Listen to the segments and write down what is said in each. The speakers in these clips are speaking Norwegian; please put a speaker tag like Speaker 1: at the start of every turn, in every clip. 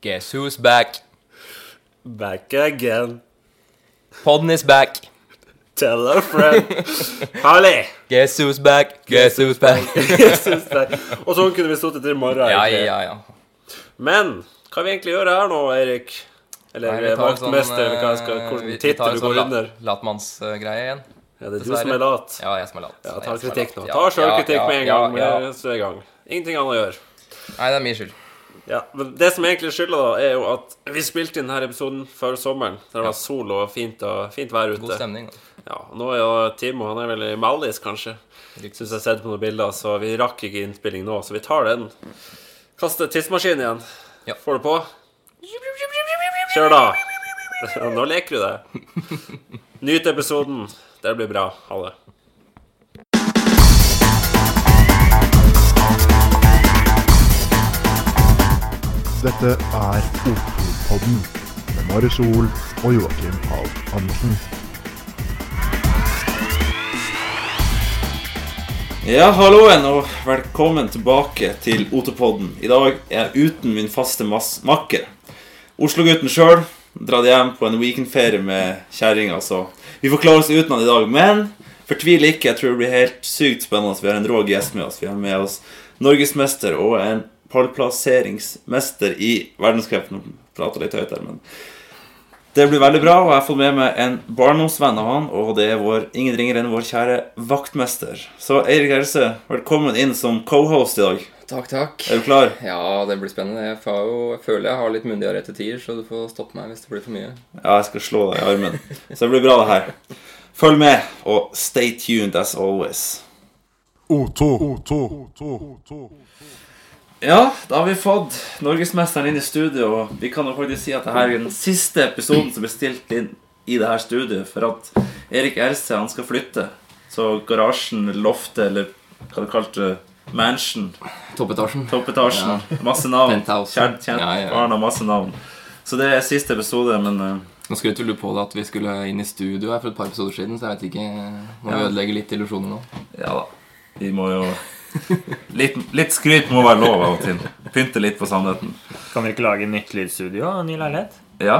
Speaker 1: Guess who's back?
Speaker 2: Back again.
Speaker 1: Podden is back.
Speaker 2: Tell a friend. Herlig!
Speaker 1: Guess who's back? Guess who's back?
Speaker 2: Jeg synes det. Og sånn kunne vi stått til i morgen.
Speaker 1: Ja,
Speaker 2: egentlig.
Speaker 1: ja, ja.
Speaker 2: Men hva vi egentlig gjør her nå, Eirik? Eller
Speaker 1: Nei, vi tar en sånn,
Speaker 2: vaktmester, eller hva jeg
Speaker 1: eh,
Speaker 2: skal,
Speaker 1: vi- vi
Speaker 2: hvordan
Speaker 1: tar en
Speaker 2: tittel du går
Speaker 1: sånn
Speaker 2: under.
Speaker 1: la- Latmannsgreie igjen.
Speaker 2: Ja, det er du
Speaker 1: dessverre.
Speaker 2: som er lat.
Speaker 1: Ja, jeg som er lat.
Speaker 2: Ja,
Speaker 1: Jeg
Speaker 2: ta
Speaker 1: som er
Speaker 2: kritikk
Speaker 1: lat.
Speaker 2: nå.
Speaker 1: Ja,
Speaker 2: Ta sjølkritikk
Speaker 1: ja,
Speaker 2: med en
Speaker 1: ja,
Speaker 2: gang.
Speaker 1: ja.
Speaker 2: Med, så er i gang. Ingenting annet å gjøre.
Speaker 1: Nei, det er min skyld.
Speaker 2: Ja, men Det som egentlig skylder, da, er jo at vi spilte inn denne episoden før sommeren. Da det var sol og fint, og fint vær ute.
Speaker 1: God stemning. da.
Speaker 2: Ja, og Nå er jo Timo han er vel i Mallis, kanskje.
Speaker 1: Riktig.
Speaker 2: Syns jeg har sett på noen bilder, så vi rakk ikke innspilling nå, så vi tar den. Kaster tidsmaskinen igjen.
Speaker 1: Ja.
Speaker 2: Får du på? Kjør, da. Ja, Nå leker du deg. Nyt episoden. Det blir bra. Ha det.
Speaker 3: Dette er Otopodden med Mari Sol og Joakim Pahl Andersen.
Speaker 4: Ja, halloen og velkommen tilbake til Otepodden. I dag er jeg uten min faste mas makker. Oslo-gutten sjøl dratt hjem på en weekendferie med kjerringa, så vi får klare oss uten han i dag. Men fortvil ikke, jeg tror det blir helt sykt spennende. Vi har en rå gjest med oss. Vi har med oss norgesmester og en pallplasseringsmester i verdenscupen. Nå prater jeg litt høyt her, men det blir veldig bra, og jeg har fått med meg en barndomsvenn av han, og det er vår, ingen ringere enn vår kjære vaktmester. Så Eirik Else, velkommen inn som co-host i dag.
Speaker 5: Takk, takk.
Speaker 4: Er du klar?
Speaker 5: Ja, det blir spennende. Jeg, får jo, jeg føler jeg har litt munndiaré til tider, så du får stoppe meg hvis det blir for mye.
Speaker 4: Ja, jeg skal slå deg i armen. Så det blir bra, det her. Følg med, og stay tuned as always. Ja, da har vi fått norgesmesteren inn i studio, og vi kan jo faktisk si at dette er den siste episoden som blir stilt inn i det her studioet, for at Erik Else, han skal flytte. Så garasjen, loftet, eller hva du kalte det, mansion,
Speaker 5: Toppetasjen.
Speaker 4: toppetasjen, masse navn.
Speaker 5: Penthouse.
Speaker 4: Kjent, kjent,
Speaker 5: Ja, ja.
Speaker 4: barn og masse navn. Så det er siste episode, men eh,
Speaker 5: Nå skrøt vel du på det at vi skulle inn i studio her for et par episoder siden, så jeg vet ikke
Speaker 1: eh,
Speaker 5: Må vi
Speaker 4: Ja.
Speaker 5: ødelegge litt illusjoner nå?
Speaker 4: Ja da. Vi må jo Litt, litt skryt må være lov av og til. Pynte litt på sannheten.
Speaker 6: Kan vi ikke lage nytt lydstudio og ny leilighet?
Speaker 4: Ja,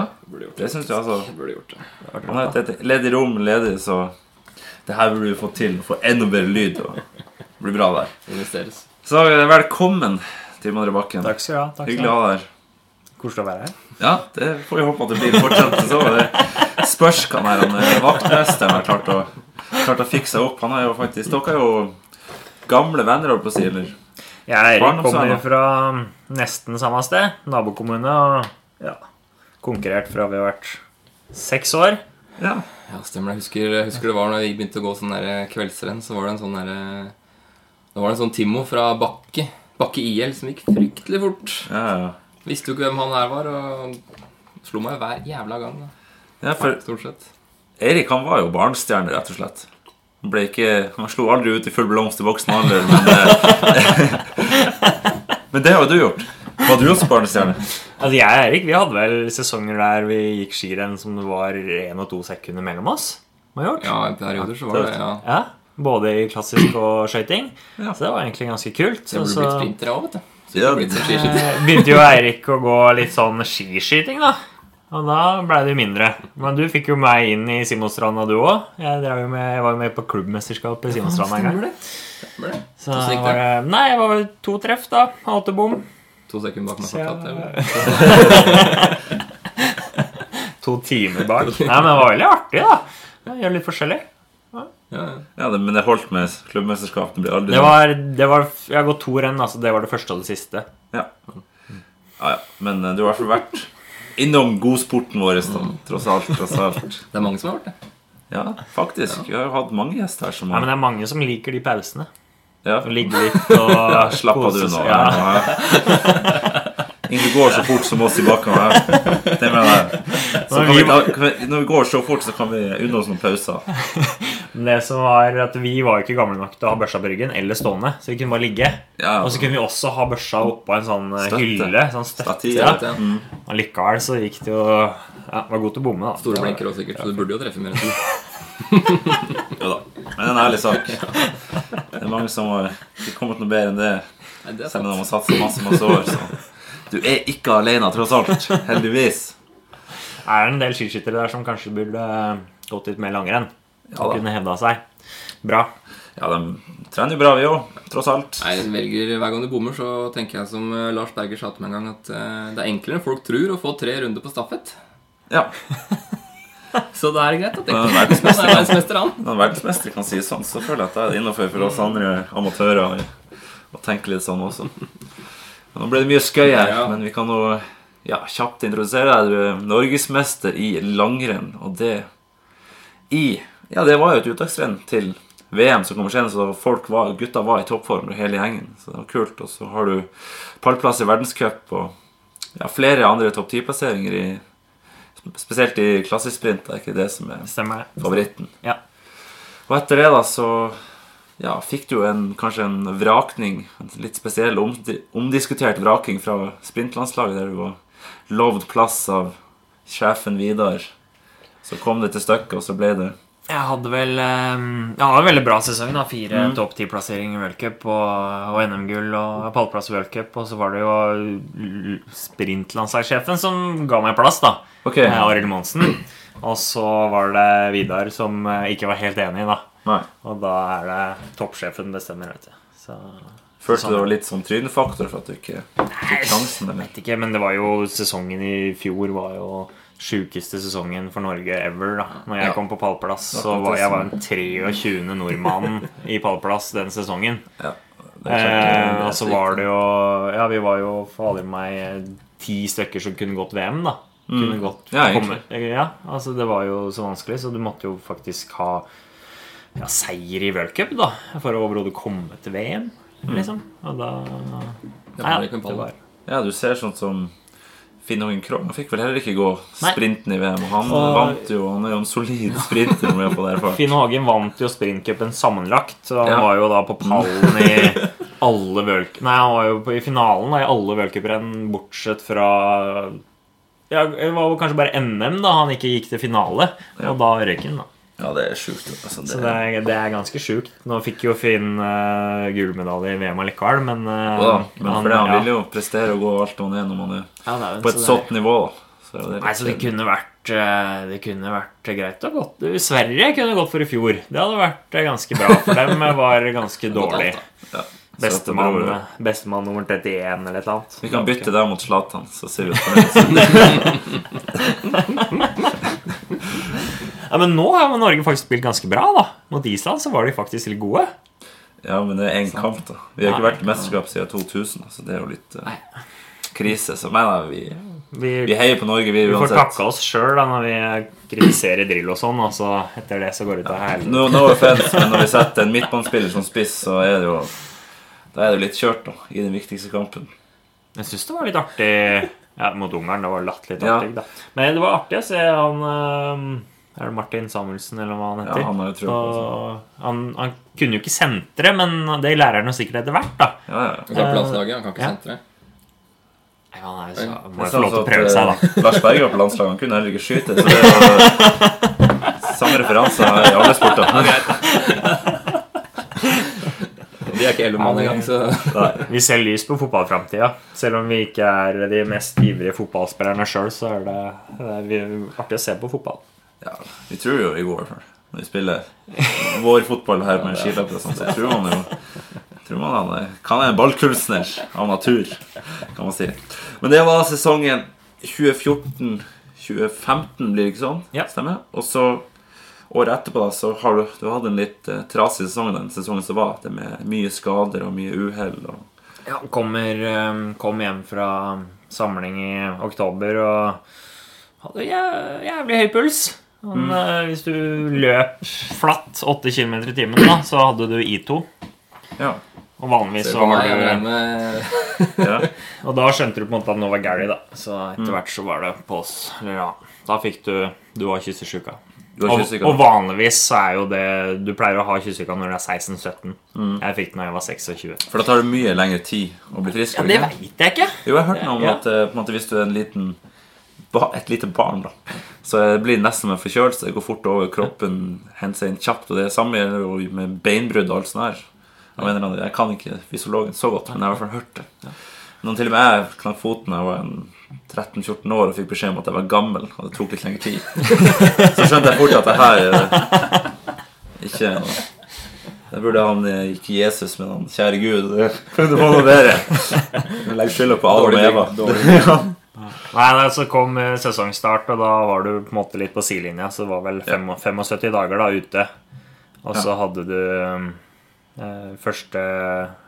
Speaker 4: det syns jeg altså.
Speaker 5: Burde gjort det.
Speaker 4: Han er et et ledig rom, ledig, så Det her burde vi få til. Få enda bedre lyd. Og det blir bra der.
Speaker 5: Investeres.
Speaker 4: Så eh, velkommen, Tim André Bakken.
Speaker 6: Takk skal du ha. takk skal
Speaker 4: Hyggelig
Speaker 6: du
Speaker 4: å
Speaker 6: ha.
Speaker 4: ha deg her.
Speaker 6: Koselig å være her.
Speaker 4: Ja, det får vi håpe at det blir fortsatt så. Det spørs hva han her han eh, vaktmesteren har klart å, klart å fikse opp. Han er jo faktisk Dere er jo gamle venner, holdt på å si. Eller
Speaker 6: Jeg og Eirik
Speaker 4: Barndomsvenn,
Speaker 6: kommer
Speaker 4: da.
Speaker 6: fra nesten samme sted. Nabokommune. Og ja, konkurrert fra vi har vært seks år.
Speaker 4: Ja.
Speaker 5: Ja, stemmer det. Jeg Husker, jeg husker det var når vi begynte å gå sånn der kveldsrenn, så var det en sånn derre Da var det en sånn Timo fra Bakke. Bakke IL som gikk fryktelig fort.
Speaker 4: ja, ja.
Speaker 5: Visste jo ikke hvem han her var, og slo meg hver jævla gang. da.
Speaker 4: ja for
Speaker 5: Stort sett.
Speaker 4: Eirik han var jo barnestjerne, rett og slett. Han, ble ikke, han slo aldri ut i full blomst i voksen alder, men eh, Men det har jo du gjort. Var du også barnestjerne?
Speaker 6: Altså Jeg og Eirik vi hadde vel sesonger der vi gikk skirenn som det var én og to sekunder mellom oss. Må ha gjort.
Speaker 5: Ja, i perioder så var det ja.
Speaker 6: Ja, Både i klassisk og skøyting.
Speaker 4: Ja.
Speaker 6: Så det var egentlig ganske kult.
Speaker 5: Det
Speaker 6: Så,
Speaker 5: burde
Speaker 6: så
Speaker 5: blitt sprintere òg, vet du.
Speaker 4: Ja,
Speaker 5: Blitt sånn skiskytter.
Speaker 6: eh, begynte jo Eirik å gå litt sånn skiskyting, da. Og da blei det jo mindre. Men du fikk jo meg inn i Simonstranda, du òg. Jeg, drev jo med, jeg var jo med på klubbmesterskapet i Simonstranda en gang.
Speaker 5: Stemmer det.
Speaker 6: Så
Speaker 5: Hvordan gikk det?
Speaker 6: var det Nei, jeg var vel to treff, da. Halte bom.
Speaker 5: To sekunder bak meg
Speaker 6: Så
Speaker 5: fortsatt. det er
Speaker 6: jeg... To timer bak. Nei, men det var veldig artig, da. Gjøre litt forskjellig.
Speaker 5: jo- Ja, ja.
Speaker 4: Ja, det, men det holdt med klubbmesterskap. Det blir aldri
Speaker 6: Det var, det var Jeg har gått to renn, altså. Det var det første og det siste.
Speaker 4: ja. Ja, ja. Men eh, du har i hvert fall vært innom godsporten vår, da. tross alt. Tross alt.
Speaker 5: Det er mange som har gjort det.
Speaker 4: Ja, faktisk. Vi har jo hatt mange gjester her som
Speaker 6: Nei, men
Speaker 4: har
Speaker 6: det er mange som liker de pausene.
Speaker 4: ja.
Speaker 6: Å ligge litt og
Speaker 4: Ja, Slapp av, du
Speaker 6: kose
Speaker 4: nå.
Speaker 6: seg.
Speaker 4: Ja.
Speaker 6: Ja.
Speaker 4: Ingen går så fort som oss i bakken her. Det mener jeg. Så
Speaker 6: Men
Speaker 4: kan vi
Speaker 6: vi-
Speaker 4: ta, kan vi, når vi går så fort, så kan vi unne oss noen pauser.
Speaker 6: Men Det som var at Vi var jo ikke gamle nok til å ha børsa på ryggen eller stående, så vi kunne bare ligge.
Speaker 4: Ja,
Speaker 6: Og så kunne vi også ha børsa oppå en sånn eh,
Speaker 4: Støtte.
Speaker 6: hylle. Sånn støtte.
Speaker 4: stativ.
Speaker 6: Ja.
Speaker 5: Vet jeg.
Speaker 6: Og likevel så gikk det jo ja, Var god til å bomme, da.
Speaker 5: Store blinker også, sikkert, så du burde jo treffe mer enn to.
Speaker 4: Jo da. Men det er en ærlig sak. Det er mange som har ikke kommet noe bedre enn det,
Speaker 5: Nei, det er
Speaker 4: selv
Speaker 5: sant.
Speaker 4: om de har satsa masse, masse år. Så. Du er ikke alene, tross alt. Heldigvis.
Speaker 6: Er det en del skiskyttere der som kanskje burde eh, gått litt mer langrenn?
Speaker 4: Ja
Speaker 6: og
Speaker 4: da.
Speaker 6: kunne hevda seg. Bra.
Speaker 4: Ja, de trener jo bra, vi òg. Tross alt.
Speaker 5: Nei, jeg velger Hver gang du bommer, så tenker jeg som eh, Lars Berger sa til meg en gang, at eh, det er enklere enn folk tror å få tre runder på stafett.
Speaker 4: Ja.
Speaker 5: Så det er greit å
Speaker 4: men
Speaker 5: tenke.
Speaker 4: Verdensmester,
Speaker 5: Han er verdensmester, han.
Speaker 4: når verdensmester kan si sånn, så føler jeg at det er innafor for oss andre amatører å- å tenke litt sånn også. Nå ble det mye skøy her,
Speaker 5: Ja.
Speaker 4: men vi kan nå ja, kjapt introdusere deg. Du er norgesmester i langrenn, og det i Ja, det var jo et uttaksrenn til VM som kommer senere, så folk var, gutta var i toppform, og hele gjengen. Så det var kult. Og så har du pallplass i verdenscup og ja, flere andre topp 10-plasseringer i Spesielt i klassisk sprint, det er ikke det som er
Speaker 6: Stemmer det.
Speaker 4: favoritten.
Speaker 6: Ja.
Speaker 4: Og etter det, da, så ja, fikk du en, kanskje en vrakning. En litt spesiell, omdi- omdiskutert vraking fra sprintlandslaget, der du var lovd plass av sjefen Vidar. Så kom det til stykket, og så ble det
Speaker 6: Jeg hadde vel eh, Jeg hadde en veldig bra sesong. da Fire topp ti-plasseringer i worldcup og, og NM-gull og pallplass i worldcup. Og så var det jo eh, l- sprintlandslagssjefen som ga meg plass, da.
Speaker 4: Ok.
Speaker 6: Eh, Arild Monsen. Og så var det Vidar som eh, ikke var helt enig, da.
Speaker 4: Nei.
Speaker 6: Og da er det toppsjefen bestemmer, vet du. Så jeg
Speaker 4: Følte du det var litt sånn trynefaktor for at du ikke fikk sjansen? Eller?
Speaker 6: vet ikke, men det var jo sesongen i fjor var jo sjukeste sesongen for Norge ever, da. Når jeg
Speaker 5: Ja.
Speaker 6: kom på pallplass, så
Speaker 4: Akkurat
Speaker 6: var
Speaker 4: det
Speaker 6: jeg
Speaker 4: som-
Speaker 6: var den 23. nordmannen i pallplass den sesongen.
Speaker 4: Ja, det er klart,
Speaker 6: Eh, og så var det jo Ja, vi var jo fader meg eh, ti stykker som kunne gått VM, da.
Speaker 5: Mm.
Speaker 6: Kunne gått
Speaker 4: Ja,
Speaker 6: komme. Ja, altså det var jo så vanskelig, så du måtte jo faktisk ha ja, seier i World Cup, da, for å overhodet komme til VM, liksom. Og da
Speaker 5: Mm. Det
Speaker 6: Nei,
Speaker 5: var ikke en
Speaker 6: det
Speaker 5: pall.
Speaker 6: var-
Speaker 4: ja, du ser sånn som Finn Hågen Krogh Han fikk vel heller ikke gå
Speaker 6: Nei.
Speaker 4: sprinten i VM. Og han
Speaker 6: Og-
Speaker 4: vant jo, han er jo en solid sprinter. om jeg får det erfart.
Speaker 6: Finn Hagen vant jo sprintcupen sammenlagt, så han
Speaker 4: Ja.
Speaker 6: var jo da på pallen i alle World Nei, han var jo på, i finalen da, i alle worldcuprenn, bortsett fra ja, Det var vel kanskje bare NM da han ikke gikk til finale, og da røyk han, da.
Speaker 4: Ja, det er sjukt. Altså, det,
Speaker 6: Så det er, det er ganske sjukt. Nå fikk jo Finn uh, gullmedalje i VM allikevel, men, eh,
Speaker 4: Ja, men for det, han
Speaker 6: ja.
Speaker 4: vil jo prestere og gå alt han er når man er
Speaker 6: Ja, det er jo
Speaker 4: på et
Speaker 6: så det-
Speaker 4: sånt nivå. da. Så er det
Speaker 6: Nei, så det kunne vært eh, Det kunne vært greit å ha gått Sverige kunne gått for i fjor. Det hadde vært eh, ganske bra, for dem var ganske dårlig.
Speaker 4: Ja.
Speaker 6: Bestemann eh,
Speaker 4: Bestemann.
Speaker 6: bestemann nummer 31 eller et eller annet.
Speaker 4: Vi kan bytte deg mot Zlatan, så ser vi oss fornøyd.
Speaker 6: Ja, men nå har Norge faktisk spilt ganske bra, da. Mot Island så var de faktisk litt gode.
Speaker 4: Ja, men det er én kamp, da. Vi har ikke vært i mesterskap siden 2000, så det er jo litt eh, krise. Så nei, nei, vi,
Speaker 6: Vi,
Speaker 4: vi heier på Norge, vi
Speaker 6: vi får
Speaker 4: uansett.
Speaker 6: takke oss sjøl når vi kritiserer drill og sånn, og så etter det så går det ut av hælen.
Speaker 4: No, no offense, men når vi setter en midtbanespiller som spiss, så er det jo Da er det jo litt kjørt, da, i den viktigste kampen.
Speaker 6: Jeg syns det var litt artig ja, mot Ungarn. Det var latterlig
Speaker 4: Ja.
Speaker 6: artig, da. Men det var artig å se han eh, Er det Martin Samuelsen, eller hva han
Speaker 4: Ja,
Speaker 6: heter?
Speaker 4: han har jo trua på altså. det.
Speaker 6: og han, han kunne jo ikke sentre, men det lærer han jo sikkert etter hvert, da.
Speaker 4: så. Ja, ja.
Speaker 5: Han kan landslaget, han kan ikke
Speaker 6: Ja.
Speaker 5: sentre.
Speaker 6: Nei, Han er jo så, han
Speaker 4: Det
Speaker 6: må jo få
Speaker 4: er
Speaker 6: lov til å
Speaker 4: sånn
Speaker 6: prøve
Speaker 4: som
Speaker 6: seg,
Speaker 4: at,
Speaker 6: da.
Speaker 4: eh, Lars Berger på landslaget han kunne heller ikke skyte. Så det er jo samme referanse i alle sporter.
Speaker 5: De er ikke elleve mann engang, så
Speaker 6: Vi ser lys på fotballframtida. Selv om vi ikke er de mest ivrige fotballspillerne sjøl, så er det, det er vi- artig å se på fotball.
Speaker 4: Ja, vi tror jo i går når vi spiller vår fotball her med skiløpere, og sånn, så tror man jo tror man han er, kan være en ballkunstner av natur, kan man si. Men det var sesongen 2014-2015, blir det ikke sånn?
Speaker 6: Ja.
Speaker 4: Stemmer? Og så året etterpå da, så har du, du hadde en litt eh, trasig sesong den sesongen som var, det med mye skader og mye uhell. og
Speaker 6: Ja, kommer, eh, kom hjem fra samling i oktober og hadde jæ- jævlig høy puls. Men, eh, hvis du løp flatt 8 km i timen, da, så hadde du I2.
Speaker 4: Ja.
Speaker 6: Og vanligvis
Speaker 5: Det
Speaker 6: så
Speaker 5: var
Speaker 6: har
Speaker 5: meg
Speaker 6: du
Speaker 5: med
Speaker 4: ja.
Speaker 6: Og da skjønte du på en måte at nå var gærlig, da. Så etter hvert så var det på oss. Eller ja, da fikk du Du var kyssesyka.
Speaker 4: Du har
Speaker 6: Og,
Speaker 4: kysset i
Speaker 6: og
Speaker 4: gang.
Speaker 6: vanligvis så er jo det Du pleier å ha kyssesyka når du er 16-17. Jeg fikk den da jeg var 26.
Speaker 4: For da tar det mye lengre tid å bli frisk.
Speaker 6: Ja,
Speaker 4: ikke
Speaker 6: det
Speaker 4: sant?
Speaker 6: veit jeg ikke.
Speaker 4: Jo, jeg hørte noe om
Speaker 6: Ja.
Speaker 4: at eh, på en måte, hvis du er en liten ba, et lite barn, da, så eh, blir det nesten som en forkjølelse. Det går fort over kroppen, henter seg inn kjapt. Og det samme gjelder jo med beinbrudd og alt sånt her. Jeg, mener, jeg kan ikke fysiologen så godt, men jeg har i hvert fall hørt det. Når til og med jeg knakk foten da jeg var en 13-14 år og fikk beskjed om at jeg var gammel, og det tok litt lengre tid, så skjønte jeg fort at det her eh, ikke er noe. Det burde han eh, ikke Jesus, men han kjære Gud. Det det var noe bedre. Legg skylda på Adam og Eva. Ja.
Speaker 6: Nei, nei, Så kom eh, sesongstart, og da var du på en måte litt på sidelinja. Så det var vel fem, 75 dager da ute. Og så hadde du eh, første,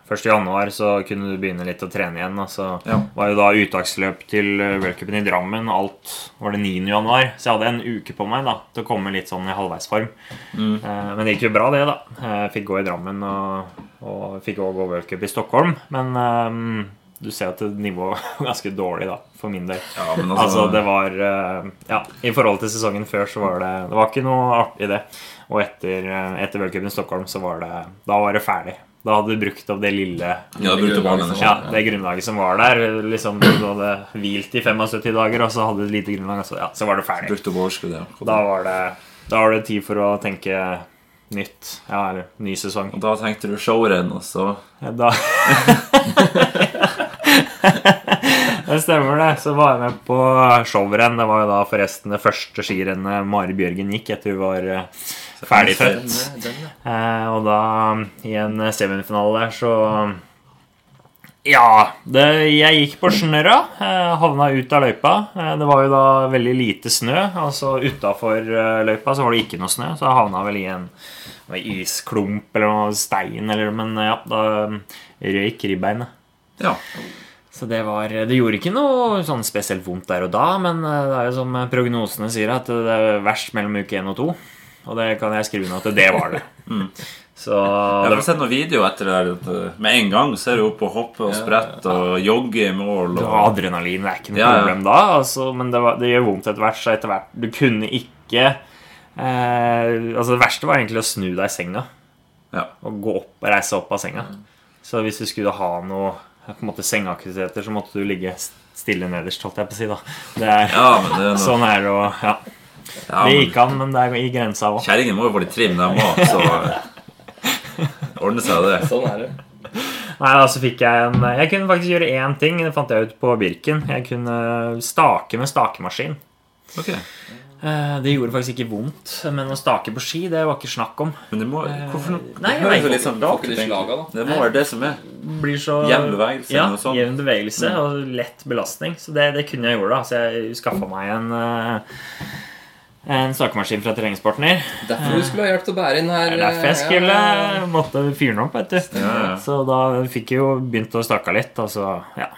Speaker 6: første januar så kunne du begynne litt å trene igjen. Og så
Speaker 4: Ja.
Speaker 6: var jo da uttaksløp til eh, v-cupen i Drammen. Alt var det 9. januar. Så jeg hadde en uke på meg da til å komme litt sånn i halvveisform. Eh, men det gikk jo bra, det, da. Jeg fikk gå i Drammen og, og fikk òg gå v-cup i Stockholm. Men eh, du ser at nivået var ganske dårlig, da, for min del.
Speaker 4: Ja, men altså-
Speaker 6: Altså, det var eh, Ja, i forhold til sesongen før, så var det Det var ikke noe artig, det. Og etter, eh, etter v-cupen i Stockholm, så var det Da var det ferdig. Da hadde du brukt opp det lille
Speaker 4: Ja, brukte opp all energi.
Speaker 6: ja, det liksom- grunnlaget som var der. Liksom, du hadde hvilt i 75 dager, og så hadde du et lite grunnlag, og så, ja, så var det ferdig.
Speaker 4: Brukte opp overskuddet. ja.
Speaker 6: Da var det, da var det tid for å tenke nytt. Ja, eller ny sesong.
Speaker 4: Og da tenkte du showrenn, og så
Speaker 6: Da Det stemmer, det. Så var jeg med på showrenn. Det var jo da forresten det første skirennet Mari Bjørgen gikk etter hun var eh, ferdig født. Eh, og da, i en semifinale der, så ja, det, jeg gikk på snørra. eh, Havna ut av løypa. Eh, Det var jo da veldig lite snø. Altså Utafor eh, løypa så var det ikke noe snø, så jeg havna vel i en det var isklump eller noe stein. Eller, men ja, da røyk ribbeinet.
Speaker 4: Ja.
Speaker 6: Så det var Det gjorde ikke noe sånn spesielt vondt der og da, men eh, det er jo som prognosene sier, at det er verst mellom uke én og to. Og det kan jeg skrive ned at det var det.
Speaker 4: Mm.
Speaker 6: Så
Speaker 4: Jeg har sett noen videoer etter det der. at, eh, Med en gang så er du oppe og hopper og spretter og jogger i mål.
Speaker 6: Du
Speaker 4: Og...
Speaker 6: har adrenalin, det er ikke noe
Speaker 4: Ja, ja.
Speaker 6: problem da. Altså, men det, var, det gjør vondt etter hvert, så etter hvert Du kunne ikke eh, Altså, det verste var egentlig å snu deg i senga.
Speaker 4: Ja.
Speaker 6: Og gå opp, reise opp av senga. Så hvis du skulle ha noe på en måte sengeaktiviteter, så måtte du ligge stille nederst, holdt jeg på å si, da. Det er,
Speaker 4: Ja, men det er noe...
Speaker 6: Sånn er det å Ja.
Speaker 4: ja,
Speaker 6: Det
Speaker 4: men
Speaker 6: gikk an, men det er i grensa òg.
Speaker 4: Kjerringene må jo være litt trim, de òg, så ordne seg det.
Speaker 5: Sånn er det.
Speaker 6: Nei, da, så fikk jeg en Jeg kunne faktisk gjøre én ting, det fant jeg ut på Birken. Jeg kunne stake med stakemaskin.
Speaker 4: Ok,
Speaker 6: Eh, Det gjorde faktisk ikke vondt, men å stake på ski, det var ikke snakk om.
Speaker 4: Men det må Hvorfor
Speaker 6: Nei,
Speaker 4: Det høres jo
Speaker 6: jeg
Speaker 4: litt sånn
Speaker 5: Får
Speaker 4: rart
Speaker 5: ikke
Speaker 4: ut,
Speaker 5: de slaga, da?
Speaker 4: egentlig. Det må være det som er.
Speaker 6: blir så
Speaker 4: Jevn bevegelse
Speaker 6: Ja,
Speaker 4: eller noe sånt. Mm.
Speaker 6: jevn bevegelse og lett belastning. Så det, det kunne jeg gjøre, da. Så jeg skaffa meg en eh, en stakemaskin fra terrengspartner.
Speaker 5: Derfor du skulle ha hjelp til å bære inn her.
Speaker 6: Det er derfor jeg
Speaker 5: eh,
Speaker 6: skulle
Speaker 5: ja.
Speaker 6: måtte fyre den opp, vet du.
Speaker 4: Ja, ja.
Speaker 6: Så da fikk jeg jo begynt å stake litt, og så ja.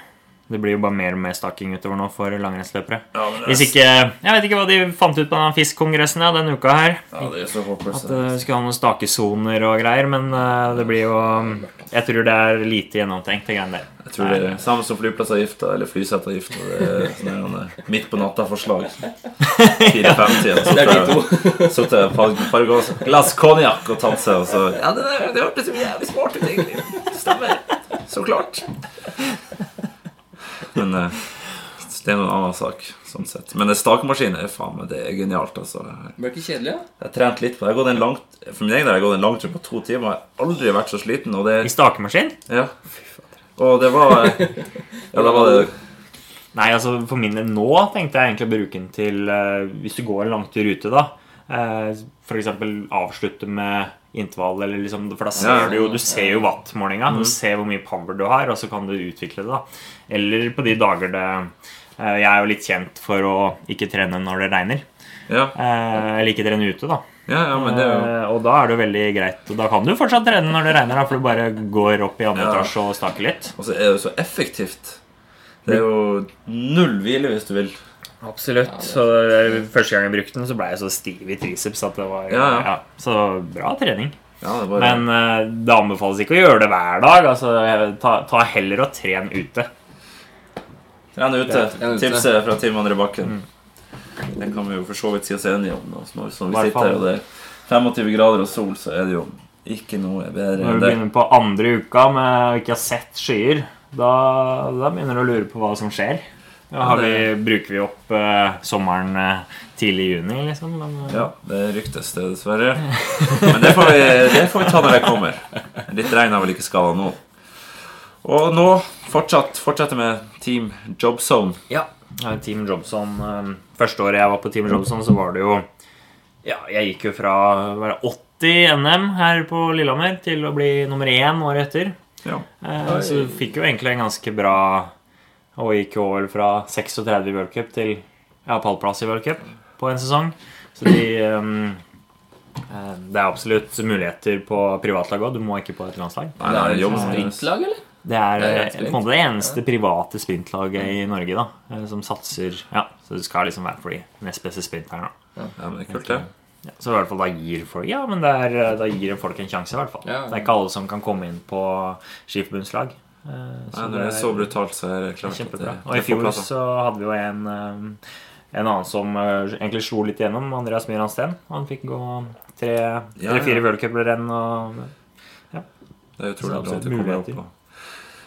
Speaker 6: Det blir jo bare mer og mer staking utover nå for langrennsløpere.
Speaker 4: Ja, men det er-
Speaker 6: Hvis ikke Jeg vet ikke hva de fant ut på den fiskkongressen ja, denne uka her.
Speaker 4: Ja, det er så håpløst.
Speaker 6: At eh, det skulle ha noen stakesoner og greier, men eh, det blir jo Jeg tror det er lite gjennomtenkt, det greiene der.
Speaker 4: Jeg tror det er samme som flyplassavgifta eller flyseteavgifta. Det er sånn der, eh, midt på natta-forslag. Fire-fem-tida. Så
Speaker 5: Det er de
Speaker 4: tar jeg- så tar jeg et par- par glass- glass konjakk og tatt seg, og så Ja, det, der- det hørtes jo jævlig smart ut, egentlig. Stemmer. Så klart. Men eh, det er noen annen sak, sånn sett. Men det stakemaskinen er faen meg det er genialt, altså.
Speaker 5: Blir ikke kjedelig, da?
Speaker 4: Jeg har trent litt på det. Jeg har gått en lang, for min egen del har jeg gått en langtur på to timer. Jeg har aldri vært så sliten, og det
Speaker 6: I stakemaskin?
Speaker 4: Ja. Og det var eh, Ja, da var det
Speaker 6: Nei, altså for min del nå tenkte jeg egentlig å bruke den til eh, Hvis du går en langtur ute, da. eh, For F.eks. avslutte med intervall, eller liksom, for da ser
Speaker 4: Ja. Mm.
Speaker 6: du jo Du ser jo wattmålinga. Du ser hvor mye power du har, og så kan du utvikle det, da. Eller på de dager det eh, Jeg er jo litt kjent for å ikke trene når det regner.
Speaker 4: Ja,
Speaker 6: eh, Eller ikke trene ute, da.
Speaker 4: ja, ja men det er jo
Speaker 6: Eh, Og da er det jo veldig greit. Og da kan du fortsatt trene når det regner, da, for du bare går opp i andre
Speaker 4: Ja.
Speaker 6: etasje og staker litt.
Speaker 4: Og så er det jo så effektivt. Det er jo null hvile hvis du vil.
Speaker 6: Absolutt. Så eh, Første gang jeg brukte den, så ble jeg så stiv i triceps at det var
Speaker 4: Ja, ja.
Speaker 6: Så bra trening.
Speaker 4: Ja, det er bare
Speaker 6: Men eh, det anbefales ikke å gjøre det hver dag. Altså, eh, ta, ta heller og tren ute.
Speaker 4: Trene ute.
Speaker 5: Tren ute.
Speaker 4: Tipset fra Team André
Speaker 6: Mm.
Speaker 4: Bakken. Det kan vi jo for så vidt si oss enige om. nå, så Når så vi
Speaker 6: Hvert
Speaker 4: sitter her
Speaker 6: fall.
Speaker 4: og det er 25 grader og sol, så er det jo ikke noe bedre
Speaker 6: Når
Speaker 4: enn
Speaker 6: du
Speaker 4: det.
Speaker 6: begynner på andre uka med å ikke ha sett skyer, da, da begynner du å lure på hva som skjer. Da har vi, bruker vi opp eh, sommeren eh, tidlig i juni, liksom. Men, eh,
Speaker 4: Ja, det ryktes det, dessverre. Men det får vi, det får vi ta når det kommer. Litt regn har vel ikke skada nå. Og nå fortsatt, fortsetter med Team Jobzone.
Speaker 6: Ja. eh, Team Jobson. eh, Første året jeg var på Team Jobson, så var det jo Ja, jeg gikk jo fra å være 80 i NM her på Lillehammer til å bli nummer én året etter.
Speaker 4: Ja.
Speaker 6: Eh, Så du fikk jo egentlig en ganske bra Og gikk jo over fra 36 i World Cup til ja, pallplass i World Cup på en sesong. Så de ehm, eh, Det er absolutt muligheter på privatlag òg. Du må ikke på et landslag.
Speaker 4: Nei, det er
Speaker 6: sånn
Speaker 4: jobb.
Speaker 5: Sprintlag, eller?
Speaker 6: Det er
Speaker 5: Det er
Speaker 6: eh,
Speaker 5: rett
Speaker 6: på en måte det eneste private
Speaker 4: Mm.
Speaker 6: sprintlaget i Norge da, eh, som satser Ja, så det skal liksom være for de nest beste sprinterne. da.
Speaker 4: Ja, men det er kult, det.
Speaker 6: Ja, så i hvert fall da gir folk Ja, men det er, eh, da gir folk en sjanse, i hvert fall.
Speaker 5: Ja.
Speaker 6: Det er ikke alle som kan komme inn på skiforbundslag. eh, så
Speaker 4: Nei, når det er så brutalt, så er altså. det klart at det,
Speaker 6: Kjempebra. Og i
Speaker 4: det får
Speaker 6: fjor
Speaker 4: plass. da.
Speaker 6: så hadde vi jo en eh, En annen som eh, egentlig slo litt gjennom, Andreas Myhran Steen. Han fikk gå tre
Speaker 4: Ja,
Speaker 6: eller fire
Speaker 4: ja.
Speaker 6: World Cup-renn og
Speaker 4: Det er utrolig
Speaker 6: så
Speaker 4: bra at du
Speaker 6: absolutt
Speaker 4: kommer opp
Speaker 6: muligheter.
Speaker 4: på.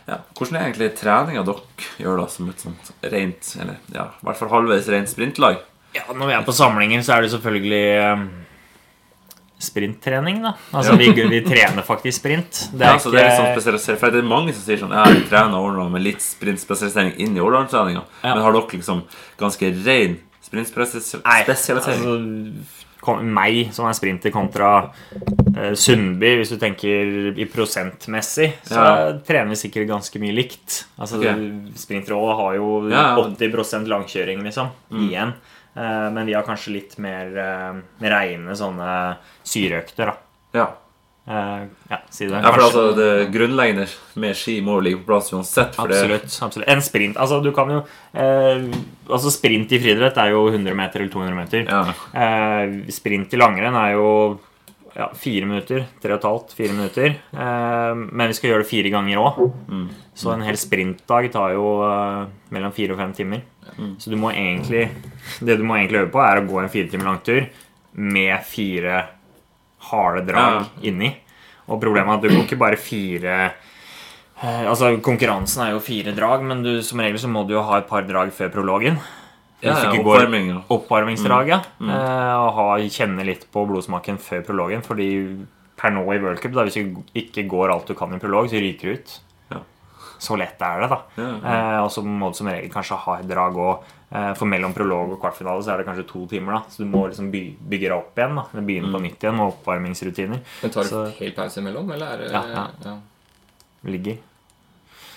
Speaker 4: Ja. Hvordan er egentlig treninga dere gjør da som et sånt rent, eller ja, i hvert fall halvveis rent sprintlag?
Speaker 6: Ja, når vi er på samlinger, så er det selvfølgelig eh, sprinttrening, da. Altså, vi, vi trener faktisk sprint. Det
Speaker 4: Ja,
Speaker 6: er
Speaker 4: så det er litt sånn
Speaker 6: ikke
Speaker 4: spesialisert For det er mange som sier sånn Ja, jeg trener Årdal med litt sprintspesialisering inn i Årdal-treninga.
Speaker 6: Ja.
Speaker 4: Men har dere liksom ganske ren
Speaker 6: Nei,
Speaker 4: sprintspesialisering?
Speaker 6: altså, kom, meg som er sprinter kontra eh, Sundby, hvis du tenker i prosentmessig, så
Speaker 4: Ja.
Speaker 6: trener vi sikkert ganske mye likt. Altså,
Speaker 4: Ok.
Speaker 6: Sprintere også har jo
Speaker 4: Ja, Mm. ja.
Speaker 6: 80 langkjøring, liksom, igjen. Eh, men vi har kanskje litt mer eh, reine sånne syreøkter, da.
Speaker 4: ja.
Speaker 6: Eh, ja, si det.
Speaker 4: Ja, for
Speaker 6: Kanskje-
Speaker 4: altså, det grunnleggende med ski må jo ligge på plass uansett. For det,
Speaker 6: Absolutt. absolutt. En sprint Altså, du kan jo eh, Altså, sprint i friidrett er jo 100 meter eller 200 meter.
Speaker 4: ja.
Speaker 6: Eh, sprint i langrenn er jo ja, fire minutter. Tre og et halvt, fire minutter. Eh, men vi skal gjøre det fire ganger òg. Så en hel sprintdag tar jo eh, mellom fire og fem timer. Så du må egentlig det du må egentlig øve på, er å gå en fire timer lang tur med fire harde drag inni. Og problemet er at du går ikke bare fire eh, Altså Konkurransen er jo fire drag, men du, som regel så må du jo ha et par drag før prologen.
Speaker 4: ja,
Speaker 6: Hvis du
Speaker 4: ja,
Speaker 6: ikke går-
Speaker 4: oppvarming ja.
Speaker 6: Oppvarmingsdrag, ja.
Speaker 4: Mm.
Speaker 6: Eh, og ha, kjenne litt på blodsmaken før prologen. Fordi per nå i World Cup, da, hvis du ikke går alt du kan i prolog, så ryker du ut.
Speaker 4: Ja.
Speaker 6: Så lett er det, da.
Speaker 4: Ja, ja.
Speaker 6: Eh, og så må du som regel kanskje ha et drag òg. Eh, for mellom prolog og kvartfinale så er det kanskje to timer, da. Så du må liksom by bygge deg opp igjen. da Du Begynne
Speaker 4: Mm.
Speaker 6: på nytt igjen med oppvarmingsrutiner.
Speaker 5: Men tar du
Speaker 6: Så-
Speaker 5: helt pause imellom, eller er det
Speaker 6: Ja, ja. Ligger.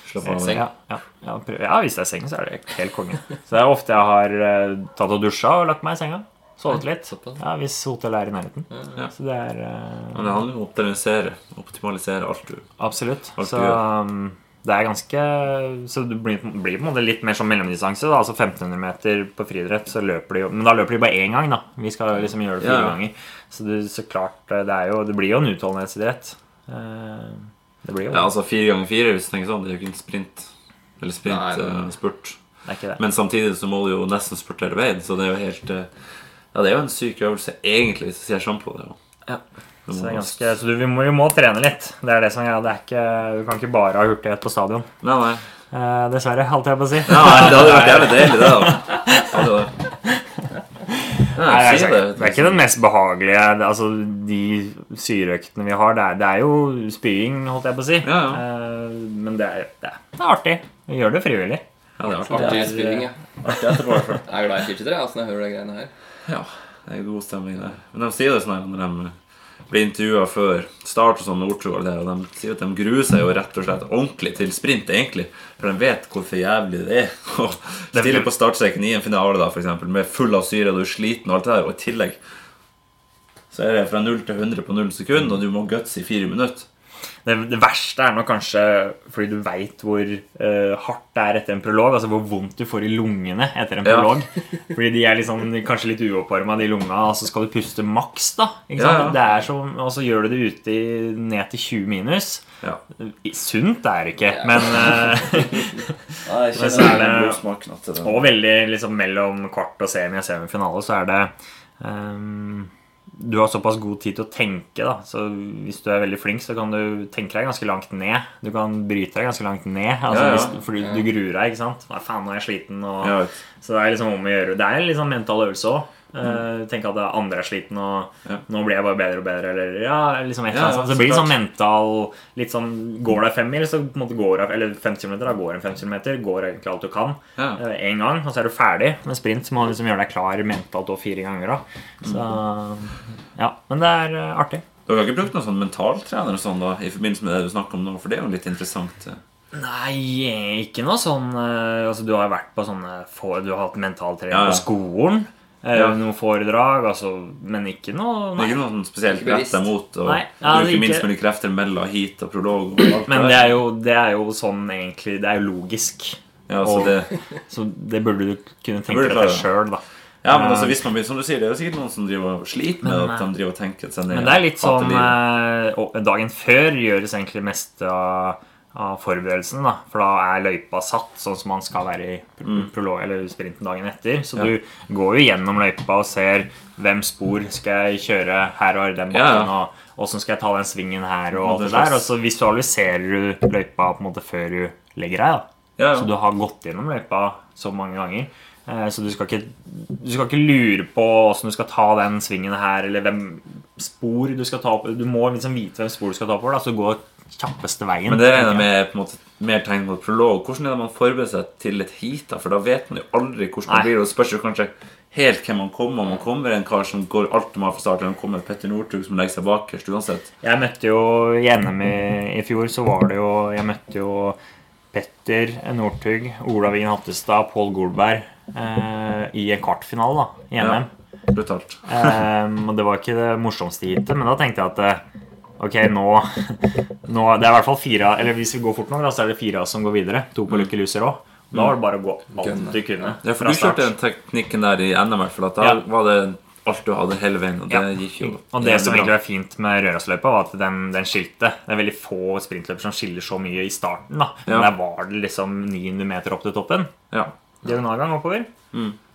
Speaker 4: Slapp
Speaker 5: Ja,
Speaker 4: av.
Speaker 5: seng.
Speaker 6: Ja, ja, ja, prøv. ja, hvis det er seng, så er det helt konge. Så det er ofte jeg har eh, tatt og dusja og lagt meg i senga. Sovet litt.
Speaker 5: såpass.
Speaker 6: Ja, Hvis hotellet er i nærheten.
Speaker 4: ja.
Speaker 6: Så det er eh,
Speaker 4: Men det handler jo om å optimalisere, optimalisere alt du
Speaker 6: absolutt.
Speaker 4: alt
Speaker 6: Så
Speaker 4: du gjør.
Speaker 6: um, det er ganske Så det blir, blir på en måte litt mer som mellomdistanse. Da. Altså 1500 meter på friidrett, så løper de jo Men da løper de bare én gang, da. Vi skal liksom gjøre det fire
Speaker 4: Ja.
Speaker 6: ganger. Så, du, så klart, eh, det er jo Det blir jo en utholdenhetsidrett. Eh, det blir jo
Speaker 4: Ja, altså fire ganger fire, hvis du tenker sånn. Det er jo ikke en sprint. Eller sprint,
Speaker 5: Nei, det-
Speaker 4: eh, spurt.
Speaker 6: Det er ikke det.
Speaker 4: Men samtidig så må du jo nesten spurte hele veien, så det er jo helt eh, Ja, det er jo en syk øvelse, egentlig, hvis du ser sånn på det. jo.
Speaker 6: Ja.
Speaker 4: Du
Speaker 6: Så, det
Speaker 4: må-
Speaker 6: er ganske, så du, vi, må, vi må trene litt. Det er det som er greia. Det er ikke, du kan ikke bare ha hurtighet på stadion.
Speaker 4: Nei, nei.
Speaker 6: Eh, dessverre, holdt jeg på å si.
Speaker 4: Ja, nei, det hadde vært jævlig deilig, det. da Hadde jo det. Nei,
Speaker 6: Nei,
Speaker 4: si
Speaker 6: det, er, det er ikke den mest behagelige det- Altså, De syreøktene vi har, det er, det er jo spying, holdt jeg på å si.
Speaker 4: Ja, ja.
Speaker 6: Eh, men det er, det, er, det er artig. Vi gjør det frivillig.
Speaker 4: Ja, det er artig.
Speaker 5: Artig spilling, ja.
Speaker 4: etterpå, i hvert fall.
Speaker 5: Jeg er glad i skiltre, altså, når jeg hører de greiene her.
Speaker 4: Ja, det er god stemning der. Men de sier det sånn her når de blir intervjua før start og sånn, Northug og det, og de sier at de gruer seg jo rett og slett ordentlig til sprint, egentlig. For de vet hvor for jævlig det er å stille på startstreken i en finale, da, for eksempel, med full av syre, du er sliten og alt det der, og i tillegg så er det fra 0 til 100 på 0 sekunder, og du må guts i fire minutter.
Speaker 6: Det, det verste er nok kanskje fordi du veit hvor eh, hardt det er etter en prolog. Altså hvor vondt du får i lungene etter en
Speaker 4: Ja.
Speaker 6: prolog. Fordi de er litt sånn, kanskje litt uoppvarma, de lunga, og så skal du puste maks, da. Ikke sant?
Speaker 4: Ja, ja.
Speaker 6: Det er som, og så gjør du det ute i, ned til 20 minus.
Speaker 4: Ja.
Speaker 6: I- Sunt er det ikke, men eh,
Speaker 4: Jeg
Speaker 6: kjenner så er det-
Speaker 4: eh, blodsmaken at det
Speaker 6: Og veldig liksom mellom kvart og semi og semifinale så er det ehm, Du har såpass god tid til å tenke, da. Så hvis du er veldig flink, så kan du tenke deg ganske langt ned. Du kan bryte deg ganske langt ned. Altså,
Speaker 4: Ja, ja.
Speaker 6: Hvis, fordi du gruer deg, ikke sant. Nei, faen, nå er jeg sliten. Og,
Speaker 4: Ja, vet.
Speaker 6: Så det er liksom om å gjøre. Det er en litt sånn mental øvelse òg. Eh, tenke at andre er sliten, og
Speaker 4: Ja.
Speaker 6: nå blir jeg bare bedre og bedre. Eller, ja, liksom et eller annet
Speaker 4: Ja,
Speaker 6: sånt. Så det blir
Speaker 4: så
Speaker 6: sånn mental litt sånn Går det fem mil, så på en måte går det Eller fem kilometer, da går det fem kilometer. Går egentlig alt du kan
Speaker 4: Ja.
Speaker 6: eh, en gang, og så er du ferdig. Med sprint så må du liksom gjøre deg klar mentalt og fire ganger. Da. Så ja. Men det er eh, artig.
Speaker 4: Dere har ikke brukt noen sånn mentaltrener og sånn da, i forbindelse med det du snakker om nå? For det er jo litt interessant. eh.
Speaker 6: Nei, ikke noe sånn eh, Altså, du har jo vært på sånne for, Du har hatt mentaltrening
Speaker 4: Ja, ja.
Speaker 6: på skolen. eh,
Speaker 4: Ja.
Speaker 6: Noen foredrag, altså Men ikke
Speaker 4: Det
Speaker 6: noe
Speaker 4: er
Speaker 6: nei.
Speaker 4: ikke noe sånn spesielt
Speaker 5: Ikke bevisst.
Speaker 4: rettet mot å
Speaker 6: Nei, ja, det er
Speaker 4: bruke
Speaker 6: ikke-
Speaker 4: minst mulig krefter mellom heat og prolog. Og alt
Speaker 6: Men
Speaker 4: der.
Speaker 6: det er, jo, det er jo sånn egentlig Det er jo logisk.
Speaker 4: ja, så
Speaker 6: og-
Speaker 4: Altså, det,
Speaker 6: Så det burde du kunne tenke
Speaker 4: burde
Speaker 6: deg
Speaker 4: klare
Speaker 6: til
Speaker 4: det.
Speaker 6: sjøl, da.
Speaker 4: ja, men altså, hvis man blir, som du sier, det er jo sikkert noen som driver og sliter med
Speaker 6: Men, eh,
Speaker 4: at de driver og tenker seg ned.
Speaker 6: Men det er litt
Speaker 4: i fattig
Speaker 6: sånn
Speaker 4: liv.
Speaker 6: eh, og Dagen før gjøres egentlig mest av, av forberedelsene, da. For da er løypa satt sånn som man skal være i pro-
Speaker 4: Mm.
Speaker 6: prolog, eller sprinten dagen etter. Så du går jo gjennom løypa og ser hvem spor skal jeg kjøre her og den
Speaker 4: Ja,
Speaker 6: bakken.
Speaker 4: ja.
Speaker 6: og Åssen skal jeg ta den svingen her og
Speaker 4: Og
Speaker 6: alt
Speaker 4: det
Speaker 6: det der.
Speaker 4: slags.
Speaker 6: Og så visualiserer du løypa på en måte før du legger deg. da
Speaker 4: Ja,
Speaker 6: Så du
Speaker 4: ja.
Speaker 6: har gått gjennom løypa så mange ganger. Eh, Så du skal ikke, du skal ikke lure på åssen du skal ta den svingen her, eller hvem spor du skal ta opp. Du må liksom vite hvem spor du skal ta oppover, da, så gå kjappeste veien.
Speaker 4: Men det regner jeg med på en måte mer tegn mot prolog. Hvordan er det man forbereder seg til et heat? da? For da vet man jo aldri hvordan
Speaker 6: Nei.
Speaker 4: det blir. Og det spørs jo kanskje helt hvem man kommer. Om man kommer en kar som går alt de har fra start, eller om det kommer Petter Northug som legger seg bakerst uansett.
Speaker 6: Jeg møtte jo i NM i, i fjor, så var det jo Jeg møtte jo Petter Northug, Ola Wien Hattestad, Pål Golberg eh, i en kvartfinale da, i NM.
Speaker 4: Ja. Brutalt.
Speaker 6: Ehm, og det var ikke det morsomste hitet, men da tenkte jeg at eh, ok, nå, nå Det er i hvert fall fire Eller hvis vi går fort nok, da, så er det fire som går videre. To på Lucky Loser òg. Da var det bare å gå alt
Speaker 5: Gønne.
Speaker 6: du kunne.
Speaker 4: Mm. Ja, for
Speaker 6: fra
Speaker 4: du kjørte den
Speaker 6: start.
Speaker 4: teknikken der i NM, i hvert fall. At da
Speaker 6: Ja.
Speaker 4: var det alt du hadde hele veien. Og det
Speaker 6: Ja.
Speaker 4: gikk jo
Speaker 6: Og det
Speaker 4: jævlig
Speaker 6: som
Speaker 4: bra.
Speaker 6: egentlig var fint med Rørossløypa, var at den, den skilte. Det er veldig få sprintløper som skiller så mye i starten. da Men
Speaker 4: Ja.
Speaker 6: der var det liksom 900 meter opp til toppen.
Speaker 4: ja. Mm.
Speaker 6: Diagonalgang oppover.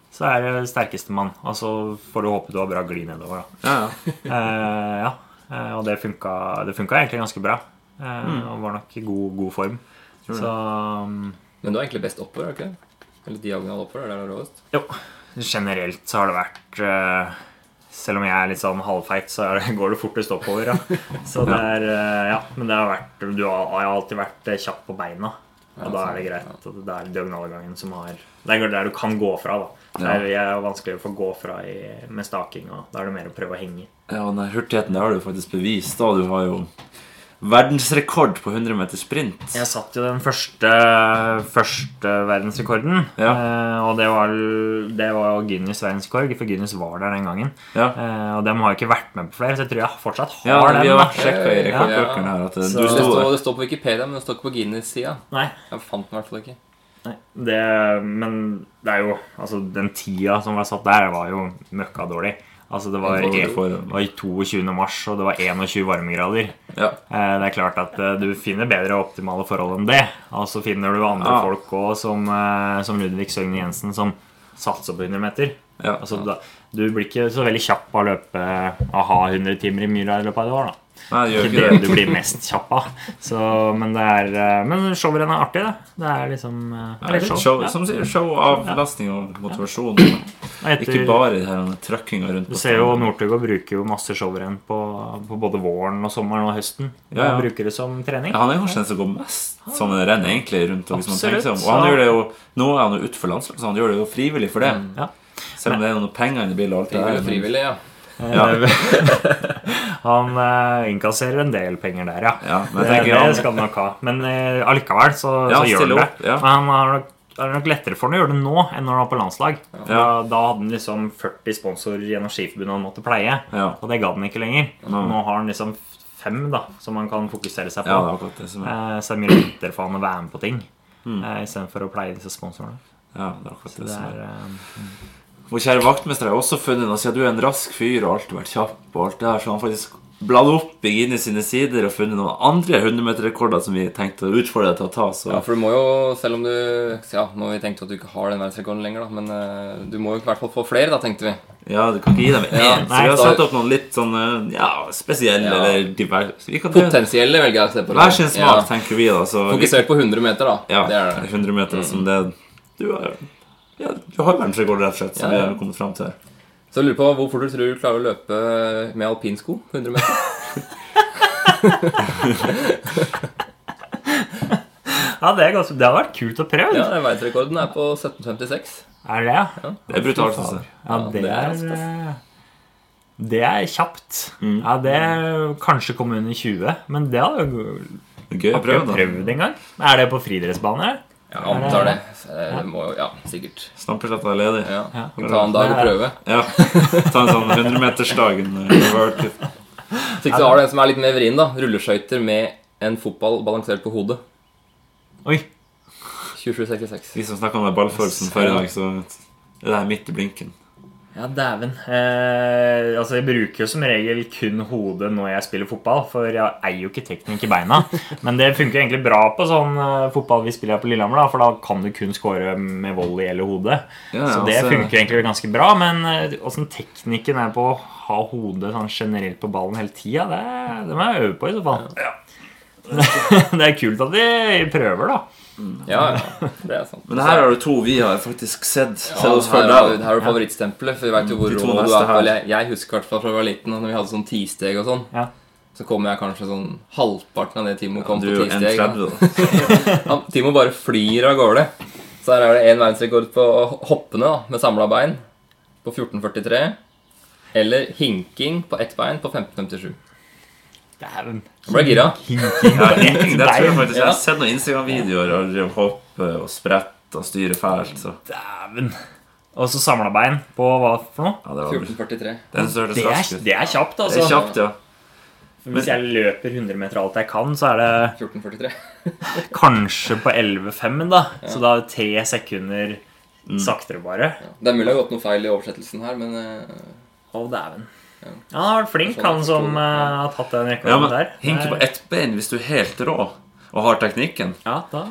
Speaker 6: Så er det sterkeste mann. Og så får du håpe du har bra gli nedover, da.
Speaker 4: Ja, ja.
Speaker 6: Eh, ja, eh, og det funka, det funka egentlig ganske bra. Eh, Og var nok i god, god form. Så um,
Speaker 5: Men du er egentlig best oppover, er du ikke det? Eller diagonal oppover, er det det er råest?
Speaker 6: jo, generelt så har det vært eh, Selv om jeg er litt sånn halvfeit, så er det, går det fortest oppover. Ja. Så det er eh, Ja, men det har vært Du har, har alltid vært eh, kjapp på beina. Og da er det greit at det er diagonalgangen som har Det er der du kan gå fra, da. Det er, jeg er vanskelig å få gå fra i, med staking, og da er det mer å prøve å henge.
Speaker 4: ja og den hurtigheten det har du faktisk bevist. da Du har jo verdensrekord på 100 meter sprint.
Speaker 6: Jeg satt jo den første, første verdensrekorden.
Speaker 4: Ja.
Speaker 6: Eh, og det var, det var jo Guinness verdensrekord, for Guinness var der den gangen.
Speaker 4: Ja.
Speaker 6: Eh, og dem har jo ikke vært med på flere, så jeg tror jeg fortsatt har
Speaker 4: Ja,
Speaker 6: den.
Speaker 4: vi har
Speaker 6: da.
Speaker 4: vært sjekka
Speaker 5: Ja,
Speaker 4: i
Speaker 5: ja, ja.
Speaker 4: rekordbøkene her at eh,
Speaker 6: Så-
Speaker 4: du
Speaker 5: Det står,
Speaker 4: sto
Speaker 5: det står på Wikipedia, men det står ikke på Guinness-sida.
Speaker 6: Nei,
Speaker 5: Jeg fant den i hvert fall ikke.
Speaker 6: nei. Det, men det er jo Altså, den tida som var satt der, var jo møkkadårlig. Altså, det var,
Speaker 4: Dårlig
Speaker 6: det
Speaker 4: for-
Speaker 6: var i 22. mars, og det var 21 varmegrader.
Speaker 4: Ja.
Speaker 6: Eh, Det er klart at eh, du finner bedre optimale forhold enn det. Og så finner du andre
Speaker 4: Ja.
Speaker 6: folk òg, som, eh, som Ludvig Søgne Jensen, som satser på 100 meter.
Speaker 4: Ja.
Speaker 6: Altså, da, du blir ikke så veldig kjapp av å løpe av ha 100 timer i myra i løpet av et år. da
Speaker 4: Nei, det gjør
Speaker 6: ikke
Speaker 4: ikke
Speaker 6: det
Speaker 4: det.
Speaker 6: du blir mest kjapp av. Så, men det er eh, Men showrenn er artig, det. Det er liksom eh,
Speaker 4: Ja, det er litt Show, liksom.
Speaker 6: ja.
Speaker 4: som sier, show avlastning og motivasjon. og Ikke
Speaker 6: Etter-
Speaker 4: bare det her med trøkkinga rundt.
Speaker 6: Du
Speaker 4: på
Speaker 6: ser jo
Speaker 4: stedet.
Speaker 6: Northug og bruker jo masse showrenn på, på både våren og sommeren og høsten.
Speaker 4: Ja, ja.
Speaker 6: Han bruker det som trening.
Speaker 4: Ja, han er kanskje den som går mest som en renn, egentlig. rundt om, hvis man
Speaker 6: Absolutt,
Speaker 4: tenker seg om. Og han
Speaker 6: så- Mm.
Speaker 4: gjør det jo, Nå er han jo utenfor landslaget, så han gjør det jo frivillig for det.
Speaker 6: Ja.
Speaker 4: Selv om det er noen penger inni bilen og alt det
Speaker 5: Frivillig,
Speaker 4: der. men-
Speaker 5: frivillig, ja.
Speaker 6: Han eh, innkasserer en del penger der, ja.
Speaker 4: Ja, men jeg
Speaker 6: det,
Speaker 4: tenker
Speaker 6: det
Speaker 4: han-
Speaker 6: skal han nok ha. Men eh, allikevel så,
Speaker 4: Ja,
Speaker 6: så gjør han
Speaker 4: stille
Speaker 6: det.
Speaker 4: opp, ja.
Speaker 6: Men han har nok, det er nok lettere for han å gjøre det nå enn når han var på landslag. Da, da hadde han liksom 40 sponsorer gjennom Skiforbundet han måtte pleie,
Speaker 4: Ja.
Speaker 6: og det gadd han ikke lenger. Nå har han liksom fem da, som han kan fokusere seg på.
Speaker 4: Ja, det er akkurat det som er.
Speaker 6: Eh, så det er mye lettere for han å være med på ting. eh, Istedenfor å pleie disse sponsorene.
Speaker 4: Ja, det er akkurat Hmm. det
Speaker 6: Det
Speaker 4: som er.
Speaker 6: er, eh,
Speaker 4: Vår kjære vaktmester har jo også funnet noe, siden du er en rask fyr og alltid vært kjapp og alt det her, så har han faktisk bladd opp i Guinness sine sider og funnet noen andre 100-meterrekorder som vi tenkte å utfordre deg til å ta, så
Speaker 5: Ja, for du må jo, selv om du Ja, nå har vi tenkt at du ikke har den verdensrekorden lenger, da, men eh, du må jo i hvert fall få flere, da, tenkte vi.
Speaker 4: ja, du kan ikke gi dem én.
Speaker 5: Ja,
Speaker 4: så vi har
Speaker 5: da-
Speaker 4: satt opp noen litt sånn eh, ja, spesielle
Speaker 5: Ja.
Speaker 4: eller diverse Vi kan ta
Speaker 5: Potensielle, velger jeg å se på.
Speaker 4: hver sin smak,
Speaker 5: Ja.
Speaker 4: tenker vi, da. Så vi,
Speaker 5: Fokusert på 100 meter, da.
Speaker 4: ja,
Speaker 5: Det er det. Mm.
Speaker 4: 100 meter som det Du har, ja, du har verdensrekord, rett og slett, som
Speaker 5: Ja, ja.
Speaker 4: vi har kommet fram til her.
Speaker 5: Så jeg lurer på hvor fort du tror du klarer å løpe med alpinsko? 100 meter?
Speaker 6: Ja, det, er ganske, det hadde vært kult å prøve.
Speaker 5: Ja, Verdensrekorden er på 1756.
Speaker 6: Er det det?
Speaker 4: Det er brutalt. Altså.
Speaker 6: Ja,
Speaker 5: Ja,
Speaker 6: det
Speaker 5: det er
Speaker 6: er eh, Det er kjapt.
Speaker 4: Mm.
Speaker 6: Ja, det er kanskje komme under 20, men det hadde jo
Speaker 4: Gøy å
Speaker 6: Har ikke
Speaker 4: prøve, da.
Speaker 6: prøvd engang. Er det på friidrettsbane? eller?
Speaker 5: Ja, jeg antar det. Så det må jo, ja, sikkert.
Speaker 4: Snappersletta er ledig.
Speaker 5: Ja.
Speaker 6: Ja.
Speaker 5: Kan ta en dag og prøve.
Speaker 4: Ja. Ta en sånn 100-metersdagen. eh, over til-
Speaker 5: Hvis ikke så har du en som er litt mer vrien, da. Rulleskøyter med en fotball balansert på hodet.
Speaker 6: Oi.
Speaker 5: 2766.
Speaker 4: De som snakka om den ballfølelsen før i dag, så er det her midt i blinken.
Speaker 6: Ja, dæven. Eh, altså, jeg bruker jo som regel kun hodet når jeg spiller fotball, for jeg eier jo ikke teknikk i beina. Men det funker jo egentlig bra på sånn eh, fotball vi spiller her på Lillehammer, da, for da kan du kun score med volley eller hodet.
Speaker 4: Ja, ja,
Speaker 6: Så det
Speaker 4: altså-
Speaker 6: funker egentlig ganske bra, men eh, åssen teknikken er på å ha hodet sånn generelt på ballen hele tida, det, det må jeg øve på i så fall. det er kult at de prøver, da.
Speaker 5: Ja, ja. Det er sant.
Speaker 4: Men her har du to vi har faktisk sett.
Speaker 5: Ja,
Speaker 4: Sett oss før
Speaker 5: her,
Speaker 4: da.
Speaker 5: har du- her har du favorittstempelet. For vi vet jo hvor
Speaker 4: De to
Speaker 5: rå du
Speaker 4: neste
Speaker 5: er.
Speaker 4: her.
Speaker 5: på- Eller jeg, jeg husker i hvert fall fra jeg var liten, da når vi hadde sånn tisteg og sånn.
Speaker 6: Ja.
Speaker 5: Så kom jeg kanskje sånn halvparten av det Timo kom
Speaker 4: Du
Speaker 5: på
Speaker 4: er jo
Speaker 5: tisteg. da.
Speaker 4: 1,30, da.
Speaker 5: Han, Timo bare flyr av gårde. Så her er det én verdensrekord på hoppene da, med samla bein på 14,43. Eller hinking på ett bein på 15,57.
Speaker 6: Dæven.
Speaker 5: Jeg ble gira.
Speaker 6: Hinking.
Speaker 4: Ja, egentlig, det tror jeg faktisk. Jeg
Speaker 5: Ja.
Speaker 4: har sett noen Instagram-videoer og drev hopp og sprett og styre fælt. Så.
Speaker 6: Dæven. Og så samla bein på hva for noe?
Speaker 4: Ja, det var
Speaker 5: 14,43.
Speaker 4: den som hørtes
Speaker 6: Det er,
Speaker 4: rask ut.
Speaker 6: det er kjapt,
Speaker 4: Det
Speaker 6: altså.
Speaker 4: er kjapt, ja.
Speaker 6: Hvis jeg løper 100 meter alt jeg kan, så er det
Speaker 5: 14,43.
Speaker 6: kanskje på 11,5, da. Så da er det tre sekunder
Speaker 4: Mm.
Speaker 6: saktere, bare.
Speaker 5: Det er mulig det har gått noe feil i oversettelsen her, men eh,
Speaker 6: Å, dæven. Ja, han har vært flink, han som eh, har tatt den
Speaker 4: ja
Speaker 6: rekorden
Speaker 4: men,
Speaker 6: der. Eh,
Speaker 4: hinke på ett bein hvis du er helt rå og har teknikken.
Speaker 6: Ja, da.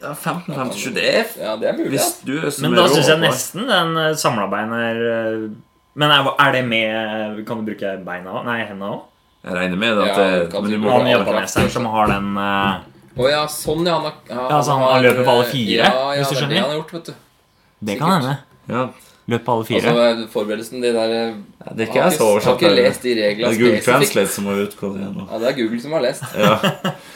Speaker 4: Ja, 15-57, det er f-
Speaker 5: ja, det er mulig. altså.
Speaker 4: Hvis
Speaker 5: ass.
Speaker 4: du er som
Speaker 6: Men
Speaker 4: er
Speaker 6: da
Speaker 4: rå
Speaker 6: syns jeg
Speaker 4: på-
Speaker 6: nesten den eh, samla bein er eh, Men er, er det med Kan du bruke beina òg? Nei, hendene òg?
Speaker 4: Jeg regner med det. At
Speaker 5: Ja,
Speaker 4: det
Speaker 5: kan
Speaker 4: men du
Speaker 5: du-
Speaker 4: må
Speaker 6: Han
Speaker 5: alle
Speaker 6: japaneseren som har den eh,
Speaker 5: Å ja, sånn ja. Han, har- ja,
Speaker 4: altså,
Speaker 6: Ja, så han
Speaker 5: har- eh,
Speaker 6: løper på alle fire,
Speaker 5: ja, ja,
Speaker 6: hvis du
Speaker 5: det er
Speaker 6: skjønner.
Speaker 5: Det han har gjort, vet du.
Speaker 6: Det kan hende.
Speaker 4: ja.
Speaker 6: Løp på alle fire.
Speaker 5: Altså, forberedelsen, de der eh,
Speaker 4: Det er ikke
Speaker 5: har
Speaker 4: jeg så
Speaker 5: Har
Speaker 4: oversatt.
Speaker 5: ikke
Speaker 4: Det
Speaker 5: lest de
Speaker 4: Det
Speaker 5: reglene
Speaker 4: er Google
Speaker 5: spesifikt.
Speaker 4: Translate som må utgå det nå.
Speaker 5: Ja, det er Google som har lest.
Speaker 4: Ja.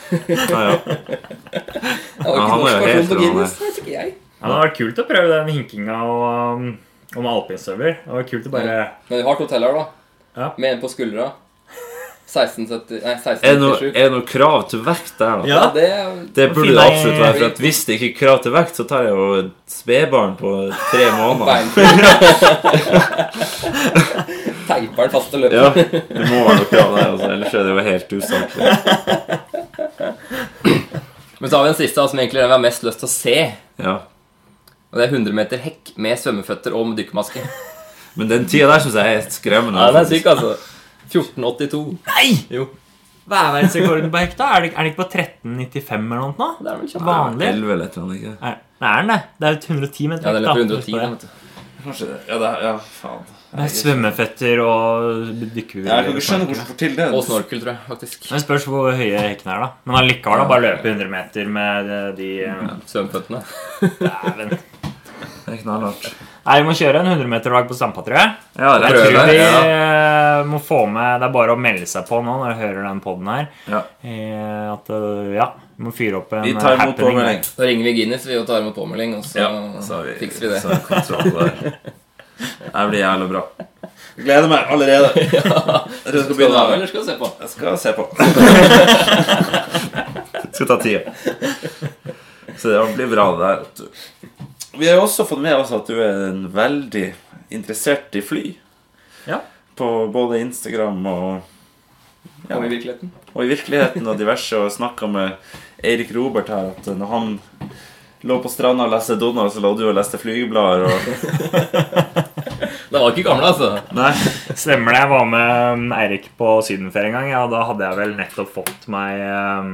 Speaker 4: Ja, ja.
Speaker 5: Det var
Speaker 4: Ja,
Speaker 5: ikke
Speaker 4: han
Speaker 5: norsk
Speaker 4: er jo
Speaker 5: versjon
Speaker 4: helt
Speaker 5: på
Speaker 4: rå, han
Speaker 5: Guinness, det vet ikke jeg.
Speaker 6: Ja, det hadde vært kult å prøve den hinkinga og, um, og med alpinstøvler. Det var kult å bare
Speaker 5: Men vi har to teller, da.
Speaker 6: Ja.
Speaker 5: Med en på skuldra. 1670 Nei,
Speaker 4: Er det noe,
Speaker 5: 1697.
Speaker 4: er det noe krav til vekt der, da?
Speaker 5: Ja,
Speaker 6: Ja,
Speaker 5: det er-
Speaker 4: Det burde det
Speaker 6: Finne-
Speaker 4: absolutt være. For at hvis det ikke er krav til vekt, så tar jeg jo et spedbarn på tre måneder.
Speaker 5: beinfri. Teiper den faste løpet.
Speaker 4: Ja, det må være noe krav der, altså, ellers er det jo helt usaklig.
Speaker 5: Men så har vi en siste da, som egentlig er den vi har mest lyst til å se.
Speaker 4: Ja.
Speaker 5: Og det er 100 meter hekk med svømmeføtter og med dykkermaske.
Speaker 4: Men den tida der syns jeg er skremmende.
Speaker 5: Ja, den er
Speaker 4: faktisk.
Speaker 5: syk, altså. 1482.
Speaker 6: Nei!
Speaker 5: Jo.
Speaker 6: Hva er verdensrekorden på hekta? Er det, er det ikke på 1395 eller noe sånt?
Speaker 5: Det er vel
Speaker 6: nå?
Speaker 5: kjapt.
Speaker 6: Vanlig?
Speaker 4: 11 eller et eller annet. ikke?
Speaker 6: Er, nei, er den det? Det er jo 110 meter
Speaker 5: Ja, den
Speaker 6: hekk,
Speaker 5: løper
Speaker 6: da.
Speaker 5: 110, den, vet du.
Speaker 4: Kanskje det. Ja, det er, ja, faen.
Speaker 6: Med svømmeføtter og dykkerhue.
Speaker 4: hvordan du får til det.
Speaker 5: Og snorkel, tror jeg, faktisk.
Speaker 6: Det spørs hvor høye hekkene er, da. Men allikevel, da. Bare løpe 100 meter med eh, de eh,
Speaker 5: Svømmeføttene.
Speaker 6: Dæven.
Speaker 4: Det er knallhardt.
Speaker 6: Nei, vi må kjøre en 100-meterdag på Stampa, tror jeg.
Speaker 4: Ja, det er
Speaker 5: Prøve.
Speaker 4: prøve.
Speaker 6: Vi
Speaker 4: Ja.
Speaker 6: eh, må få med Det er bare å melde seg på nå når du hører den poden her.
Speaker 4: Ja.
Speaker 6: Eh, At eh, ja, vi må fyre opp en
Speaker 4: Vi tar
Speaker 6: eh,
Speaker 4: imot påmelding.
Speaker 5: Da ringer vi Guinness vi og tar imot påmelding, og så, fikser vi det.
Speaker 4: Så har vi kontroll på det. Det blir jævlig bra. Gleder meg allerede. Jeg tror jeg skal
Speaker 5: Skal du
Speaker 4: begynne.
Speaker 5: ha med, eller skal du se på?
Speaker 4: Jeg skal se på. skal ta tida. Så det blir bra, det der. vet du. Vi har jo også fått med oss at du er en veldig interessert i fly.
Speaker 6: Ja.
Speaker 4: På både Instagram og,
Speaker 5: Ja, i virkeligheten.
Speaker 4: og i virkeligheten og diverse. Og snakka med Eirik Robert her at når han lå på stranda og leste Donald, så lå du og leste flygeblader og
Speaker 5: Det var ikke gamle, altså.
Speaker 4: Nei.
Speaker 6: Stemmer det. Jeg var med mm, Eirik på sydenferie en gang, ja, og da hadde jeg vel nettopp fått meg eh,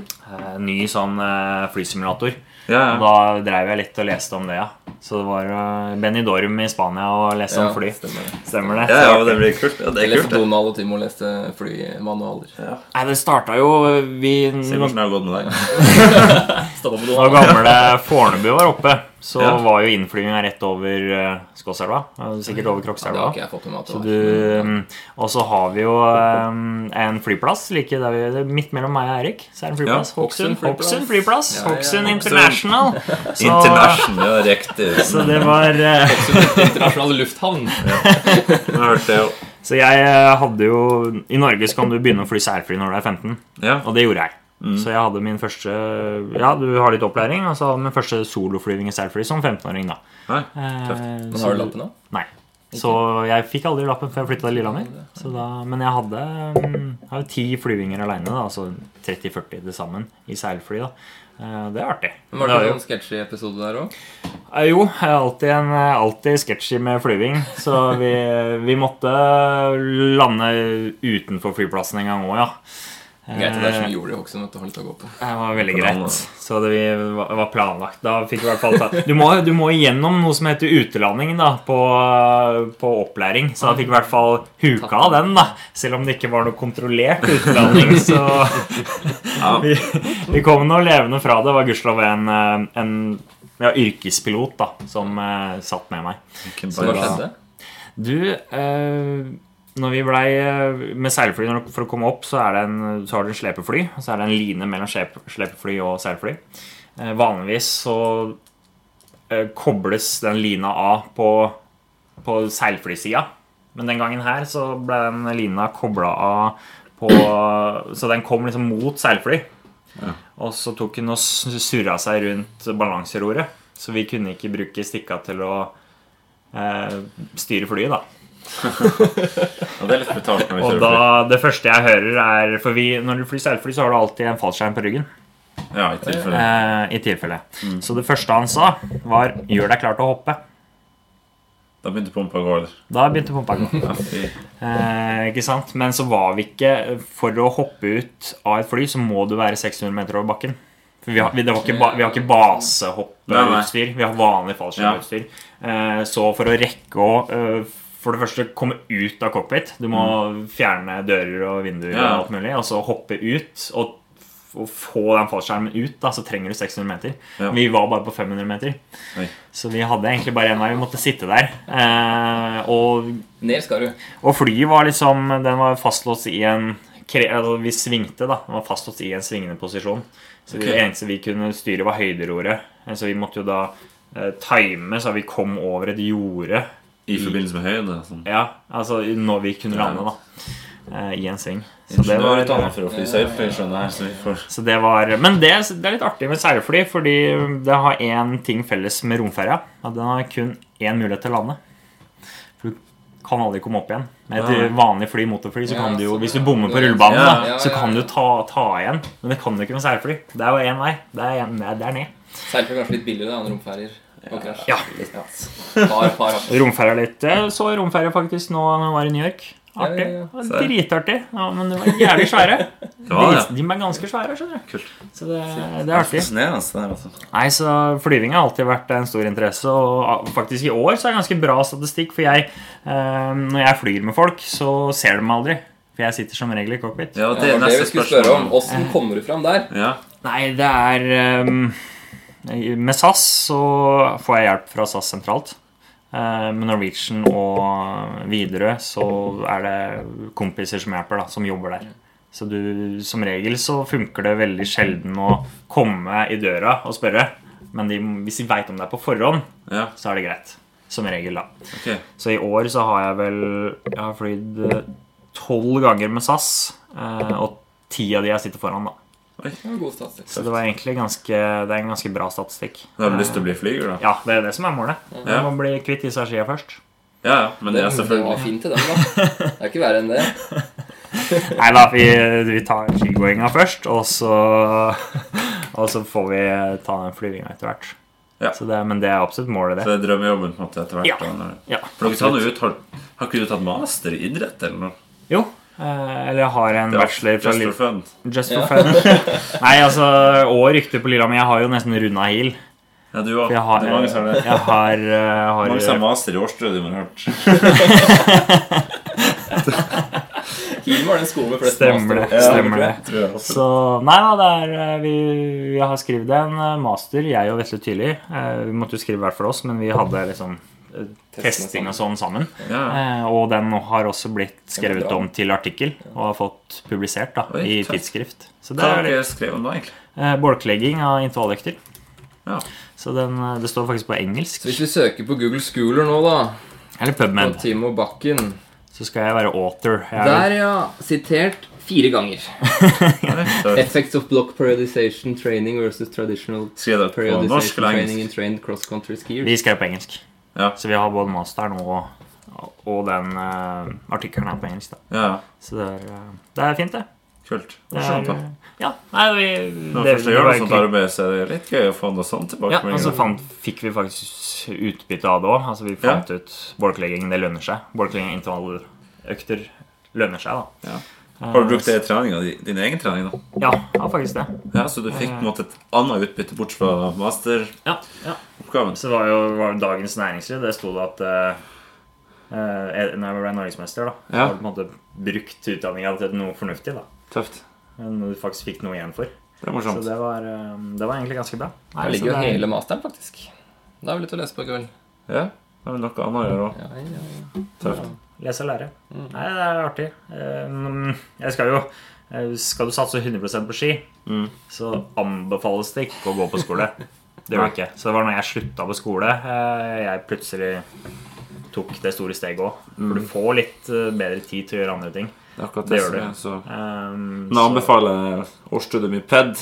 Speaker 6: eh, ny sånn eh, flysimulator.
Speaker 4: Ja,
Speaker 6: Og
Speaker 4: ja.
Speaker 6: da dreiv jeg litt og leste om det, ja. Så det var eh, Benidorm i Spania og leste om fly.
Speaker 5: stemmer det.
Speaker 6: Stemmer det.
Speaker 4: Ja, ja, det blir kult. Ja, det
Speaker 5: Jeg
Speaker 4: er kult.
Speaker 5: leste
Speaker 4: det.
Speaker 5: Donald og Timo leste flymanualer.
Speaker 6: Nei, det starta jo Vi
Speaker 4: Se hvordan det har gått med deg.
Speaker 5: Stoppa på
Speaker 6: Da
Speaker 5: doen.
Speaker 6: gamle Fornebu var oppe, så
Speaker 4: Ja.
Speaker 6: var jo innflyginga rett over eh, Skåselva. eh, Sikkert over
Speaker 5: Ja, det har
Speaker 6: Krokselva.
Speaker 5: ikke jeg fått med meg. at det
Speaker 6: Så
Speaker 5: var.
Speaker 6: du, mm, og så har vi jo eh, en flyplass like der vi, det er midt mellom meg og Erik. Så er det en flyplass.
Speaker 5: Ja, Hokksund flyplass.
Speaker 6: Hokksund Hokksund flyplass.
Speaker 5: Ja, ja,
Speaker 6: Hokksund
Speaker 5: Hokksund.
Speaker 6: International. Så,
Speaker 7: International, riktig.
Speaker 6: så det var eh,
Speaker 5: Internasjonal lufthavn.
Speaker 2: Jeg hørte det jo.
Speaker 6: Så jeg eh, hadde jo I Norge så kan du begynne å fly særfly når du er 15,
Speaker 7: Ja.
Speaker 6: og det gjorde jeg.
Speaker 5: Mm.
Speaker 6: Så jeg hadde min første Ja, du har litt opplæring, og så hadde jeg min første soloflyving i særfly som 15-åring, da.
Speaker 7: Nei,
Speaker 6: Eh,
Speaker 5: Men
Speaker 6: så-
Speaker 5: har du lappen nå?
Speaker 6: Nei. Så jeg fikk aldri lappen før jeg flytta til Lillehammer. Så da- Men jeg hadde mm, jeg har jo ti flyvinger aleine, altså 30-40 til sammen, i seilfly. da Eh, Det er artig.
Speaker 5: Men var
Speaker 6: Det
Speaker 5: det
Speaker 6: er jo-
Speaker 5: noen sketsjy episode der òg?
Speaker 6: Eh, Jo, jeg er alltid, en- eh, alltid sketsjy med flyving. Så vi, vi måtte lande utenfor flyplassen en gang òg, ja. Eh,
Speaker 5: Greit at det er som vi gjorde det i Hokksund. at du har litt å gå på.
Speaker 6: det var veldig
Speaker 7: Plan,
Speaker 6: greit. Så det vi- var var planlagt. Da fikk vi i hvert fall ta Du må, du må igjennom noe som heter utelanding da, på, på opplæring. Så da fikk vi i hvert fall huka av den, da. Selv om det ikke var noe kontrollert utelanding, så
Speaker 7: Ja.
Speaker 6: vi, vi kom nå levende fra det. Det var gudskjelov en, eh, en ja, yrkespilot da, som eh, satt med meg.
Speaker 7: Ikke
Speaker 5: Så hva
Speaker 7: bare-
Speaker 5: skjedde?
Speaker 6: Du, eh, når vi blei eh, med seilfly når, for å komme opp, så, er det en, så har du en slepefly. Og så er det en line mellom slep, slepefly og seilfly. Eh, vanligvis så eh, kobles den lina av på, på seilflysida. Men den gangen her så ble den lina kobla av på Så den kom liksom mot seilfly. Og så tok hun og surra seg rundt balanseroret. Så vi kunne ikke bruke stikka til å eh, styre flyet, da.
Speaker 7: Og det er litt brutalt når vi
Speaker 6: Og
Speaker 7: kjører fly.
Speaker 6: da, det første jeg hører er For vi, når du flyr seilfly, så har du alltid en fallskjerm på ryggen.
Speaker 7: Ja, i tilfelle.
Speaker 6: Eh, I tilfelle. Så det første han sa, var 'gjør deg klar til å hoppe'.
Speaker 7: Da begynte pumpa å gå. eller?
Speaker 6: Da begynte pumpa å gå.
Speaker 7: Ja, fy.
Speaker 6: Eh, ikke sant? Men så var vi ikke For å hoppe ut av et fly, så må du være 600 meter over bakken. For vi har, vi, det var ikke, ba, vi har ikke
Speaker 7: Nei, nei.
Speaker 6: basehoppeutstyr. Vi har vanlig fallskjermutstyr. Eh, så for å rekke å eh, for det første komme ut av cockpit Du må fjerne dører og vinduer og
Speaker 7: Mm. Ja.
Speaker 6: alt mulig. Og så hoppe ut. Og f- og få den fallskjermen ut, da, så trenger du 600 meter.
Speaker 7: Ja.
Speaker 6: Vi var bare på 500 meter.
Speaker 7: Oi.
Speaker 6: Så vi hadde egentlig bare én vei. Vi måtte sitte der. Eh, og
Speaker 5: Ned skal du.
Speaker 6: og flyet var liksom Den var fastlåst i en kre- altså Vi svingte, da. Den var fastlåst i en svingende posisjon. Så
Speaker 7: Ok.
Speaker 6: det eneste vi kunne styre, var høyderoret. Eh, Så vi måtte jo da eh, time så vi kom over et jorde.
Speaker 7: I forbindelse med høyde. Sånn.
Speaker 6: Ja, altså i- når vi kunne lande, da. Eh, I en sving. Så det var
Speaker 7: Ingeniørutdannet for å fly seilfly, skjønner jeg. Så vi får
Speaker 6: så det var, men det, det er litt artig med seilfly, fordi det har én ting felles med romferja. At den har kun én mulighet til å lande. For du kan aldri komme opp igjen. Med et vanlig fly, motorfly, så
Speaker 5: Ja,
Speaker 6: kan du jo,
Speaker 5: så-
Speaker 6: hvis du bommer på
Speaker 5: Ja,
Speaker 7: ja,
Speaker 6: rullebanen,
Speaker 5: ja,
Speaker 6: da, så
Speaker 5: ja,
Speaker 6: kan
Speaker 5: ja.
Speaker 6: du ta, ta igjen. Men det kan du ikke med seilfly. Det er jo én vei. Det er, en, det er ned.
Speaker 5: Seilfly er kanskje litt billigere da, enn romferjer. Og krasj.
Speaker 6: Ja.
Speaker 5: Par, par hakk.
Speaker 6: Romferja litt. Jeg så romferja faktisk nå når jeg var i New York. Artig.
Speaker 5: Ja, ja, ja.
Speaker 6: Det var Dritartig. Ja, men de var jævlig svære.
Speaker 7: Det var det.
Speaker 6: De- De er ganske svære, skjønner du.
Speaker 7: Kult.
Speaker 6: Så det, det er artig.
Speaker 7: Fascinerende. det der, altså.
Speaker 6: Nei, så Flyving har alltid vært en stor interesse, og faktisk i år så er det ganske bra statistikk. For jeg, eh, når jeg flyr med folk, så ser de meg aldri. For jeg sitter som regel i cockpit.
Speaker 7: Ja,
Speaker 5: Ja,
Speaker 7: det er
Speaker 5: det var det
Speaker 7: neste
Speaker 5: vi skulle spørre om.
Speaker 7: spørsmål.
Speaker 5: Åssen kommer du fram der?
Speaker 7: Ja,
Speaker 6: Nei, det er eh, Med SAS så får jeg hjelp fra SAS sentralt. Eh, Med Norwegian og Widerøe så er det kompiser som hjelper, da, som jobber der. Så du, som regel så funker det veldig sjelden å komme i døra og spørre. Men de, hvis de veit om det er på forhånd,
Speaker 7: ja,
Speaker 6: så er det greit. Som regel, da.
Speaker 7: ok.
Speaker 6: Så i år så har jeg vel Jeg har flydd eh, tolv ganger med SAS, eh, og ti av de jeg sitter foran, da.
Speaker 5: Ja, god statistikk.
Speaker 6: Så det var egentlig ganske, det er en ganske bra statistikk. Eh,
Speaker 7: Da har du lyst til å bli flyger, da?
Speaker 6: Ja, det er det som er målet.
Speaker 7: Ja.
Speaker 6: Man må bli kvitt disse skia først.
Speaker 7: Ja, ja, men det
Speaker 5: Det
Speaker 7: er
Speaker 5: var
Speaker 7: selvfølgelig
Speaker 5: fint til dem, da. Det er ikke verre enn det.
Speaker 6: Nei da, vi, vi tar skigåinga først, og så, og så får vi ta den flyvinga etter hvert.
Speaker 7: Ja.
Speaker 6: Så det, men det er absolutt målet,
Speaker 7: Så
Speaker 6: det.
Speaker 7: det er eh, drømmejobben på en måte etter hvert.
Speaker 6: Ja.
Speaker 7: da, når-
Speaker 6: Ja,
Speaker 7: For dere hadde jo ut, har, har ikke du tatt master i idrett eller noe?
Speaker 6: Jo. eh, Eller jeg har en bachelor fra
Speaker 7: Just
Speaker 6: Liv
Speaker 7: for fun.
Speaker 6: Just for fun. Nei, altså, og ryktet på Lillehammer. Jeg har jo nesten runda heal.
Speaker 7: Ja, du òg.
Speaker 6: Jeg har,
Speaker 7: Det er mange som har det.
Speaker 6: jeg har, eh, har
Speaker 7: Mange som har master i årsstudium, har jeg hørt.
Speaker 5: Kiel var den skolen med flest
Speaker 6: Stemmer det,
Speaker 5: mastergrad.
Speaker 6: stemmer det.
Speaker 4: Tror jeg også.
Speaker 6: Så nei da, det er, eh, vi, vi har skrevet en eh, master, jeg og Vetle Tyli. Eh, Vi måtte jo skrive hver for oss, men vi hadde liksom eh, testing og sånn sammen.
Speaker 4: Ja.
Speaker 6: Eh, Og den har også blitt skrevet
Speaker 5: bra.
Speaker 6: om til artikkel og har fått publisert da,
Speaker 4: Oi,
Speaker 6: i
Speaker 4: tøft.
Speaker 6: tidsskrift. Så det
Speaker 4: Hva har
Speaker 6: er
Speaker 4: dere skrevet om da, egentlig?
Speaker 6: eh, bolklegging av intervalløkter.
Speaker 4: Ja.
Speaker 6: Så den, eh, det står faktisk på engelsk.
Speaker 5: Så hvis vi søker på Google Schooler nå, da,
Speaker 6: Eller
Speaker 5: på
Speaker 6: PubMed.
Speaker 5: Timo Bakken
Speaker 6: Så skal jeg være author. Jeg er
Speaker 5: Der, ja. Sitert fire ganger. Effects of block periodization training versus traditional
Speaker 4: Skrev dere på
Speaker 5: periodization
Speaker 4: norsk eller
Speaker 5: training in
Speaker 4: engelsk?
Speaker 5: trained cross-country skiers.
Speaker 6: Vi skrev på engelsk.
Speaker 4: Ja.
Speaker 6: Så vi har både masteren og, og den eh, artikkelen her på engelsk. da.
Speaker 4: Ja,
Speaker 6: Så det er, eh, det er fint, det.
Speaker 4: kult.
Speaker 6: Det
Speaker 4: Morsomt,
Speaker 6: er,
Speaker 4: da.
Speaker 6: eh, ja, nei, vi,
Speaker 4: Når man først gjør
Speaker 6: var
Speaker 4: noe sånt
Speaker 6: egentlig-
Speaker 4: arbeid, så er det litt gøy å få noe sånt
Speaker 6: ja, altså
Speaker 4: tilbakemeldinger.
Speaker 6: og så fant, fikk vi faktisk utbytte av det òg. Altså, vi fant ut bolklegging, det lønner seg. Bolklegging intervalløkter lønner seg, da. Eh,
Speaker 4: Har du brukt det i treninga di? Din egen trening, da?
Speaker 6: Ja, ja faktisk det.
Speaker 4: Ja, Så du fikk på en måte et annet utbytte bort fra masteroppgaven?
Speaker 6: Ja, ja. Så var jo var jo Dagens Næringsliv Det sto det at eh, eh, Når jeg ble norgesmester, da, så
Speaker 4: Ja.
Speaker 6: var det på en måte brukt utdanninga til noe fornuftig. da
Speaker 4: Tøft.
Speaker 6: Noe du faktisk fikk noe igjen for.
Speaker 4: Det er
Speaker 6: Så
Speaker 4: morsomt.
Speaker 6: det var, eh, det var egentlig ganske bra. Nei,
Speaker 5: Her
Speaker 6: så
Speaker 5: ligger jo
Speaker 6: det er-
Speaker 5: hele masteren, faktisk. Da er vi litt å lese på i kveld.
Speaker 4: Ja, det er vel noe annet å gjøre òg.
Speaker 5: Ja, ja, ja.
Speaker 4: Tøft.
Speaker 6: Lese og lære.
Speaker 4: Mm.
Speaker 6: Nei, det er artig. Eh, men Jeg skal jo eh, Skal du satse 100 på ski,
Speaker 4: Mm.
Speaker 6: så anbefales det ikke å gå på skole. Det gjør det ikke. Så det var når jeg slutta på skole, eh, jeg plutselig tok det store steget òg.
Speaker 4: Mm.
Speaker 6: For du får litt eh, bedre tid til å gjøre andre ting.
Speaker 4: Det er akkurat
Speaker 6: Det
Speaker 4: det.
Speaker 6: gjør
Speaker 4: som
Speaker 6: det.
Speaker 4: er, så...
Speaker 6: Um,
Speaker 4: Nå anbefaler jeg årsstudiet mitt PED.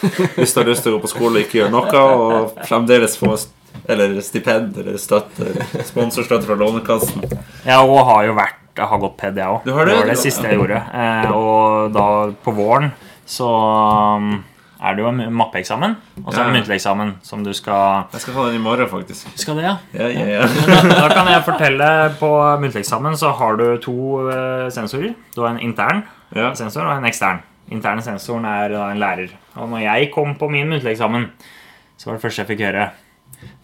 Speaker 4: Hvis du har lyst til å gå på skole og ikke gjøre noe, og fremdeles få st- eller stipend eller støtte, eller sponsorstøtte fra Lånekassen.
Speaker 6: Ja, og har jo vært Jeg har gått PED, jeg òg.
Speaker 4: Du har det?
Speaker 6: var det siste jeg gjorde. Eh, og da på våren så um, er det jo en mappeeksamen, og så er
Speaker 4: Ja.
Speaker 6: det muntlig eksamen som du skal
Speaker 4: Jeg skal ta den i morgen, faktisk.
Speaker 6: Skal det, ja?
Speaker 4: Ja, ja, ja.
Speaker 6: Da kan jeg fortelle På muntlig eksamen så har du to eh, sensorer. Du har en intern
Speaker 4: ja.
Speaker 6: sensor og en ekstern. Interne sensoren er da en lærer. Og når jeg kom på min muntlig eksamen, så var det første jeg fikk høre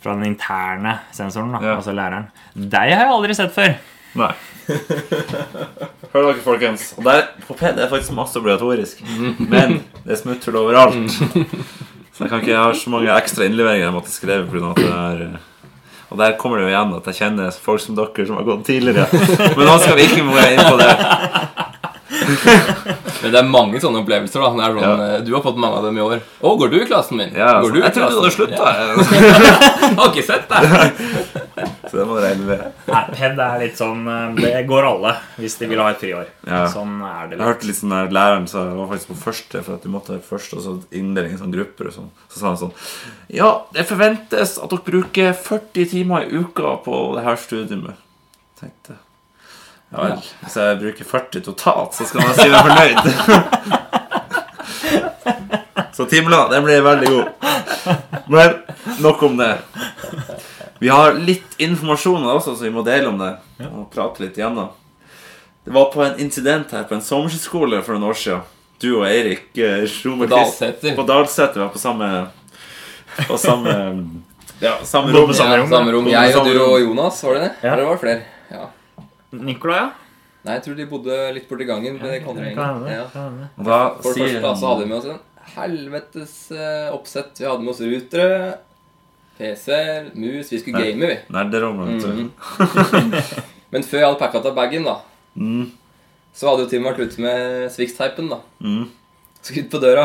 Speaker 6: fra den interne sensoren, da,
Speaker 4: Ja.
Speaker 6: altså læreren. Deg har jeg aldri sett før.
Speaker 4: Nei. Hør dere, folkens. Og der, på PED er faktisk masse obligatorisk. Men det er smutthull overalt. Så jeg kan ikke ha så mange ekstra innleveringer jeg måtte skrive. På grunn av at det er, eh, og der kommer det jo igjen at jeg kjenner folk som dere som har gått tidligere. Men nå skal vi ikke gå inn på det.
Speaker 5: Men det er mange sånne opplevelser. da det er sånn, eh, Du har fått mange av dem i år. Å, går du i klassen min?
Speaker 4: Ja, altså,
Speaker 5: går du i
Speaker 4: jeg trodde du hadde
Speaker 5: klassen?
Speaker 4: slutta.
Speaker 5: Jeg har ikke sett deg!
Speaker 4: Så det må du regne med.
Speaker 6: Nei, PED er litt sånn eh, Det går alle hvis de vil ha et friår.
Speaker 4: Ja.
Speaker 6: Sånn er det.
Speaker 4: Jeg hørte litt sånn der læreren sa jeg var faktisk på første, for at du måtte være først, og så inndeling i sånne grupper og sånn. Så sa han sånn Ja, det forventes at dere bruker 40 timer i uka på det her studiet. med." Tenkte jeg. Ja vel. Hvis jeg bruker 40 totalt, så skal man si meg fornøyd. så timela, den blir veldig god. Men nok om det. Vi har litt informasjon også, så vi må dele om det og prate litt igjennom. Det var på en incident her på en sommerskole for noen år siden. Du og Eirik eh, slo med
Speaker 5: På
Speaker 4: Chris-
Speaker 5: Dalseter.
Speaker 4: På Dalseter. Vi var på samme På samme Ja, samme
Speaker 6: Rom-
Speaker 4: rom.
Speaker 5: Samme rom. Ja, samme rom. Jeg og
Speaker 4: Samme
Speaker 5: du
Speaker 4: rom.
Speaker 5: og Jonas, var det det?
Speaker 6: Ja.
Speaker 5: Eller var det flere? Ja.
Speaker 6: Nicolai, ja?
Speaker 5: Nei, jeg tror de bodde litt borti gangen. Men det kan dere
Speaker 6: Kan hende,
Speaker 5: egentlig. Ja.
Speaker 6: kan hende.
Speaker 4: Og da
Speaker 5: For det
Speaker 4: sier
Speaker 5: første da, så hadde
Speaker 4: han
Speaker 5: vi med oss en helvetes eh, oppsett. Vi hadde med oss rutere, PC-er, mus. Vi skulle
Speaker 4: Nei.
Speaker 5: game, vi.
Speaker 4: Nerderommet, vet
Speaker 5: Mhm.
Speaker 4: du. Mm.
Speaker 5: Men før jeg hadde pakka av bagen, da, så hadde jo Tim vært ute med Swix-teipen. da.
Speaker 4: Mm.
Speaker 5: Skrudd på døra.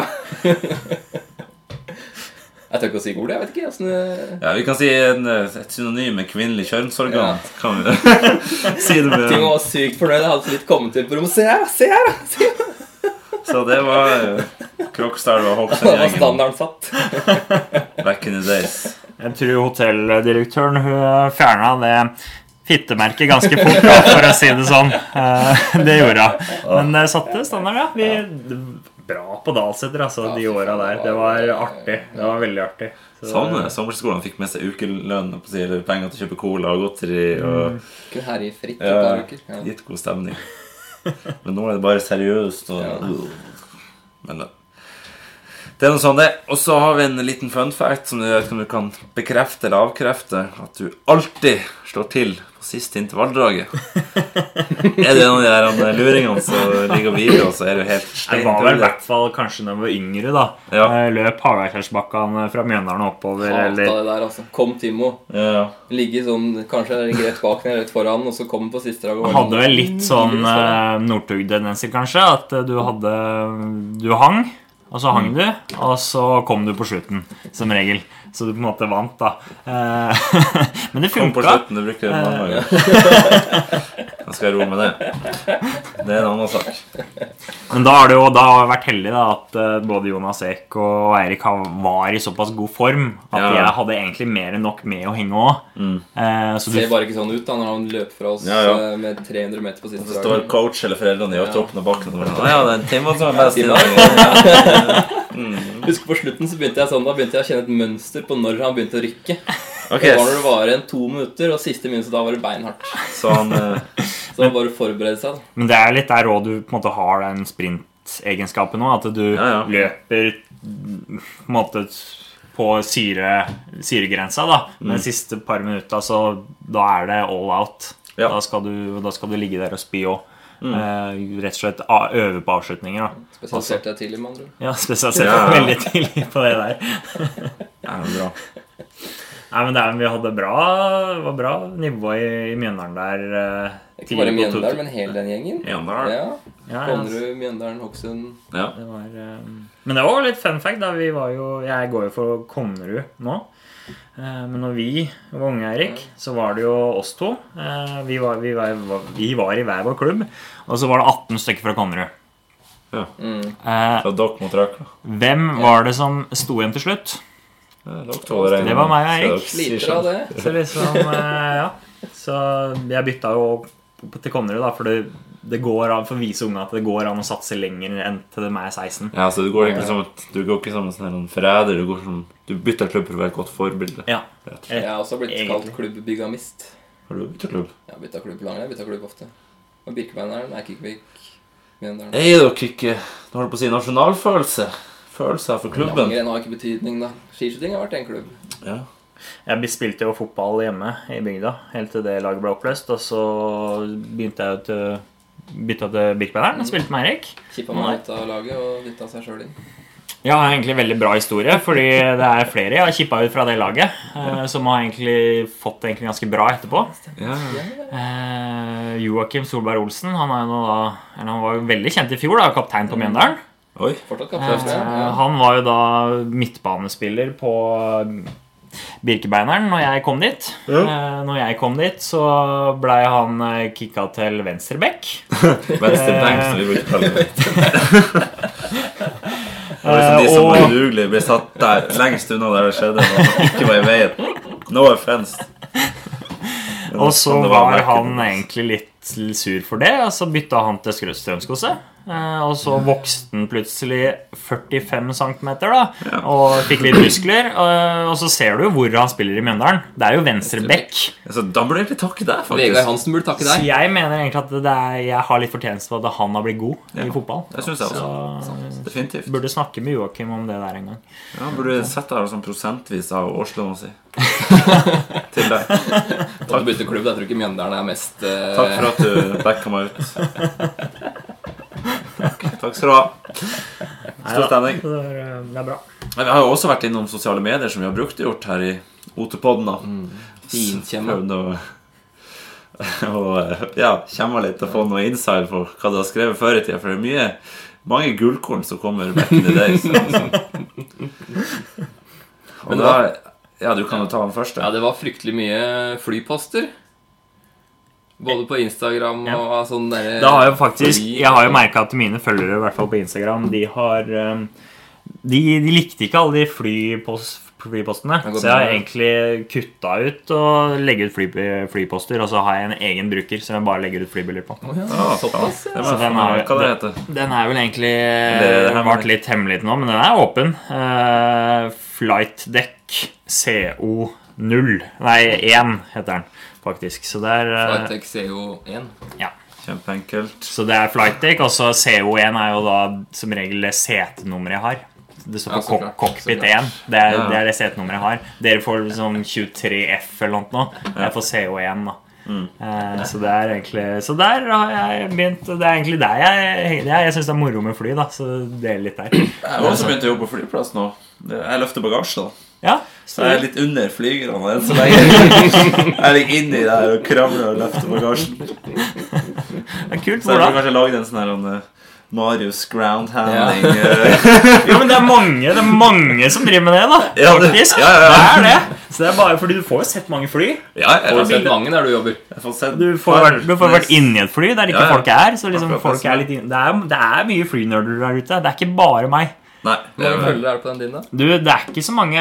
Speaker 5: jeg tør ikke å si ordet. Jeg sånn, vet ikke åssen det
Speaker 4: Ja, vi kan si en, eh, et synonym med kvinnelig kjønnsorgan.
Speaker 5: Ja.
Speaker 4: Kan vi si det
Speaker 5: Tim
Speaker 4: med
Speaker 5: var sykt fornøyd. Jeg hadde så vidt kommet inn på rommet. Se her, da, se her! da, se her.
Speaker 4: Så det var eh, Krokstadelv og
Speaker 5: Da var
Speaker 4: Hokksund-gjengen
Speaker 5: standarden satt.
Speaker 4: back in the days.
Speaker 6: Jeg tror hotelldirektøren hun fjerna det fittemerket ganske fort, da, for å si det sånn. Eh, Det gjorde hun. Men det satte standard, ja. Vi, bra på Dalseter, altså,
Speaker 5: Ja,
Speaker 6: de
Speaker 5: fy faen,
Speaker 6: åra der.
Speaker 5: det
Speaker 6: Det
Speaker 5: var-
Speaker 6: var artig. Det var veldig artig. Så-
Speaker 4: Sånn er det. sommerskolene fikk med seg ukelønn på å si, eller penger til å kjøpe cola og godteri.
Speaker 5: Mm.
Speaker 4: Og
Speaker 5: Kunne herje fritt et par
Speaker 4: ja,
Speaker 5: uker. Ja.
Speaker 4: litt god stemning. Men nå er det bare seriøst og
Speaker 5: Ja.
Speaker 4: Men eh, Det er noe sånt det. Og så har vi en liten fun fact som du vet om du kan bekrefte eller avkrefte. At du alltid slår til på siste intervalldraget. er det en av de der andre luringene som ligger og hviler, og så er du helt
Speaker 6: Det eh, var vel i
Speaker 4: steindød?
Speaker 6: hvert fall kanskje da jeg var yngre, da.
Speaker 4: Ja.
Speaker 6: Jeg Løp Hagakjærsbakkene fra Mjøndalen og oppover,
Speaker 5: Hata det
Speaker 6: eller
Speaker 5: der, altså. Kom Timo.
Speaker 4: Ja, ja.
Speaker 5: Ligge sånn kanskje rett bak ned, rett foran, og så kom på siste dag. og-
Speaker 6: Jeg hadde vel litt sånn eh, Northug-tendenser, kanskje. At eh, du hadde Du hang, og så
Speaker 4: Mm.
Speaker 6: hang du, og så kom du på slutten, som regel. Så du på en måte vant, da. Eh, Men det
Speaker 4: Kom på
Speaker 6: funka.
Speaker 4: slutten, det bruker jeg en annen gang. Jeg skal roe med det. Det er en annen sak.
Speaker 6: Men da har det jo da har jeg vært heldig da at eh, både Jonas Eek og Eirik har- var i såpass god form at
Speaker 4: Ja. Mm.
Speaker 6: jeg hadde egentlig mer enn nok med å henge òg. Så du
Speaker 5: Ser bare ikke sånn ut da når han løper fra oss
Speaker 4: Ja, ja.
Speaker 5: eh, med 300 meter på
Speaker 4: Så
Speaker 5: siste
Speaker 4: står
Speaker 5: dag.
Speaker 4: coach eller foreldrene i toppen av bakken og bare «Å Ja, det er en Timo som er best i
Speaker 5: Timo.
Speaker 4: dag.
Speaker 5: Husk på slutten så begynte jeg sånn, da begynte jeg å kjenne et mønster på når han begynte å rykke.
Speaker 4: Ok,
Speaker 5: Det var når det var igjen to minutter, og siste minuttet da var det beinhardt.
Speaker 4: så han eh,
Speaker 5: Så det var bare å forberede seg. da.
Speaker 6: Men det er litt der òg du på en måte har den sprintegenskapen òg. At du
Speaker 4: Ja, ja.
Speaker 6: løper mm, på en måte på syre, syregrensa, da.
Speaker 4: Mm.
Speaker 6: Men de siste par minutta, så da er det all out.
Speaker 4: Ja. Mm.
Speaker 6: Da, skal du, da skal du ligge der og spy òg. Eh, rett og slett a- øve på avslutninger, da.
Speaker 5: Spesialiserte jeg tidlig, med andre ord.
Speaker 6: Ja, spesielt
Speaker 4: Ja.
Speaker 6: veldig tidlig på det der.
Speaker 4: er jo bra.
Speaker 6: Nei, men det er, vi hadde bra, det var bra nivå i, i Mjøndalen der. Eh,
Speaker 5: Ikke bare
Speaker 6: tidlig på to-
Speaker 5: Mjøndalen, men hele den gjengen.
Speaker 4: Enar.
Speaker 5: Ja,
Speaker 6: Ja, altså. ja.
Speaker 5: Konnerud, Mjøndalen, Hokksund.
Speaker 4: Ja.
Speaker 6: Det var, eh, men det var jo litt fun fact. Da. Vi var jo, jeg går jo for Konnerud nå. Eh, Men når vi var unge, Eirik, så var det jo oss to. Eh, Vi var, vi var, vi var i hver vår klubb. Og så var det 18 stykker fra Konnerud.
Speaker 4: Ja.
Speaker 6: Eh,
Speaker 4: Fra dokk mot røkla.
Speaker 6: Hvem var det som sto igjen til slutt? Det var meg og Erik.
Speaker 5: Sliter
Speaker 4: sånn?
Speaker 5: av det.
Speaker 6: Så liksom, eh, ja. Så jeg bytta jo p- til Konnerud, da, for det, det går an, for å vise unge at det går an å satse lenger enn til dem er 16.
Speaker 4: Ja, så du går egentlig som et, du går ikke som en sånn her en forræder. Du, går som, du bytter klubb for å være et godt forbilde.
Speaker 6: Ja.
Speaker 5: Jeg har også blitt kalt
Speaker 6: Egentlig.
Speaker 5: klubbbygamist.
Speaker 4: Har du byttet klubb?
Speaker 5: Jeg har bytta klubb langt, jeg bytta klubb ofte. Og Birkebeineren er Kikkvik. Mjøndalen.
Speaker 4: Er dere ikke Nå holder jeg på å si nasjonalfølelse. Følelse her for klubben.
Speaker 5: Langrenn har ikke betydning, da. Skiskyting har vært en klubb.
Speaker 4: Ja.
Speaker 6: Jeg be- spilte jo fotball hjemme i bygda helt til det laget ble oppløst. Og så begynte jeg til bytta til Birkebeineren og spilte med Erik.
Speaker 5: Kippa meg ut av laget og dytta seg sjøl inn.
Speaker 6: Jeg har egentlig en veldig bra historie, fordi det er flere jeg har kippa ut fra det laget, eh, som har egentlig fått det egentlig ganske bra etterpå. Eh, Joakim Solberg Olsen han, er jo nå da, eller han var jo veldig kjent i fjor, da, kaptein på Mjøndalen.
Speaker 4: Oi.
Speaker 5: Fortsatt kaptein.
Speaker 6: Eh,
Speaker 5: Ja.
Speaker 6: Han var jo da midtbanespiller på eh, Birkebeineren når jeg kom dit. Eh, Når jeg kom dit, så blei han eh, kicka til venstreback.
Speaker 4: Venstre benk, som vi bruker å kalle det. Det var liksom
Speaker 6: Eh,
Speaker 4: de som var
Speaker 6: og
Speaker 4: udugelige, ble satt der lengst unna der det skjedde. Og ikke var i veien. No offense. Men
Speaker 6: og
Speaker 4: det-
Speaker 6: så
Speaker 4: men det
Speaker 6: var
Speaker 4: merket. liksom.
Speaker 6: han egentlig litt sur for det, og så bytta han til Skrø- Strømskose. Eh, Og så vokste han plutselig 45 cm da, og fikk litt muskler. eh, Og så ser du jo hvor han spiller i Mjøndalen. Det er jo venstreback.
Speaker 4: Altså, da burde jeg egentlig takke deg,
Speaker 5: Vegard
Speaker 4: faktisk.
Speaker 5: Hansen burde takke
Speaker 6: Så
Speaker 5: deg.
Speaker 6: jeg mener egentlig at det er, jeg har litt fortjeneste på at han har blitt god i fotball.
Speaker 4: Det syns jeg også.
Speaker 6: Så
Speaker 4: Definitivt.
Speaker 6: burde snakke med Joakim om det der en gang.
Speaker 4: Ja, han burde sette her sånn prosentvis av årslønna si. Til deg.
Speaker 5: Takk bytte klubb. Jeg tror ikke Mjøndalen er mest eh,
Speaker 4: Takk for at du backa meg ut. Takk, takk skal du ha. Stor stemning.
Speaker 6: Det er, eh, det er bra.
Speaker 4: Nei, Vi har jo også vært innom sosiale medier, som vi har brukt og gjort her i OT-podden. da.
Speaker 5: finkjemma.
Speaker 4: Prøvd å og, ja, kommer litt og får noe inside på hva du har skrevet før i tida. For det er mye, mange gullkorn som kommer back in the days. Altså. Og da, ja, du kan jo ta den første.
Speaker 5: Ja, det var fryktelig mye flyposter. Både på Instagram og av sånn derre
Speaker 6: Da har jeg faktisk Jeg har jo merka at mine følgere, i hvert fall på Instagram, de har eh, De, de likte ikke alle de flypost, flypostene.
Speaker 5: går
Speaker 6: Så jeg har
Speaker 5: bra.
Speaker 6: egentlig kutta ut og legge ut fly, flyposter, og så har jeg en egen bruker som jeg bare legger ut flybilder på.
Speaker 4: Ja,
Speaker 5: Såpass, ja.
Speaker 4: det
Speaker 6: Så
Speaker 4: var,
Speaker 6: den er-
Speaker 4: hva det heter
Speaker 6: Den er vel egentlig
Speaker 4: Eller er det
Speaker 6: eh, vært litt hemmelig til nå, men den er åpen. Eh, Flightdeck CO0 Nei, 1 heter den faktisk. Så det er, eh,
Speaker 5: Flightech CO1.
Speaker 4: Kjempeenkelt.
Speaker 6: så det er Flightdeck, og så CO1 er jo da som regel det setenummeret jeg har. Det står
Speaker 5: Ja,
Speaker 6: på
Speaker 5: så
Speaker 6: kok-
Speaker 5: klart, så
Speaker 6: cockpit
Speaker 5: klart.
Speaker 6: 1. Det er,
Speaker 4: Ja.
Speaker 6: det er det setenummer jeg har. Dere får sånn 23F eller noe. nå. Jeg får CO1, da.
Speaker 4: Mm.
Speaker 6: Eh, så det er egentlig Så der har jeg begynt Det er egentlig der jeg det er, Jeg syns det er moro med fly, da. Så del litt der.
Speaker 4: Jeg har også begynt å jobbe på flyplass nå. Jeg løfter bagasje, da.
Speaker 6: Ja,
Speaker 4: Så jeg er litt under flygerne enn så lenge. Jeg ligger inni der og kravler og løfter bagasjen.
Speaker 6: det er kult.
Speaker 4: Så jeg burde
Speaker 6: Hvordan?
Speaker 4: kanskje lage en sånn her han, eh, Marius ground handling eh,
Speaker 6: Jo, men det er mange Det er mange som driver med det, da.
Speaker 4: Ja, det-
Speaker 6: Faktisk.
Speaker 4: ja, ja, ja.
Speaker 6: Det er det. Så det er bare fordi du får jo sett mange fly.
Speaker 4: Ja, jeg
Speaker 5: Har
Speaker 4: har
Speaker 5: du sett
Speaker 4: sett-
Speaker 5: mange der du jobber?
Speaker 4: jeg får sett
Speaker 6: Du får, vært, du får vært inni et fly der ikke
Speaker 4: Ja, ja.
Speaker 6: folk er. Så liksom
Speaker 4: Akkurat, altså.
Speaker 6: folk
Speaker 4: det er
Speaker 6: er litt inn- det, er, det er mye flynerder der ute. Det er ikke bare meg.
Speaker 4: Nei.
Speaker 5: Hvor mange følgere er det på den din, da?
Speaker 6: Du, Det er ikke så mange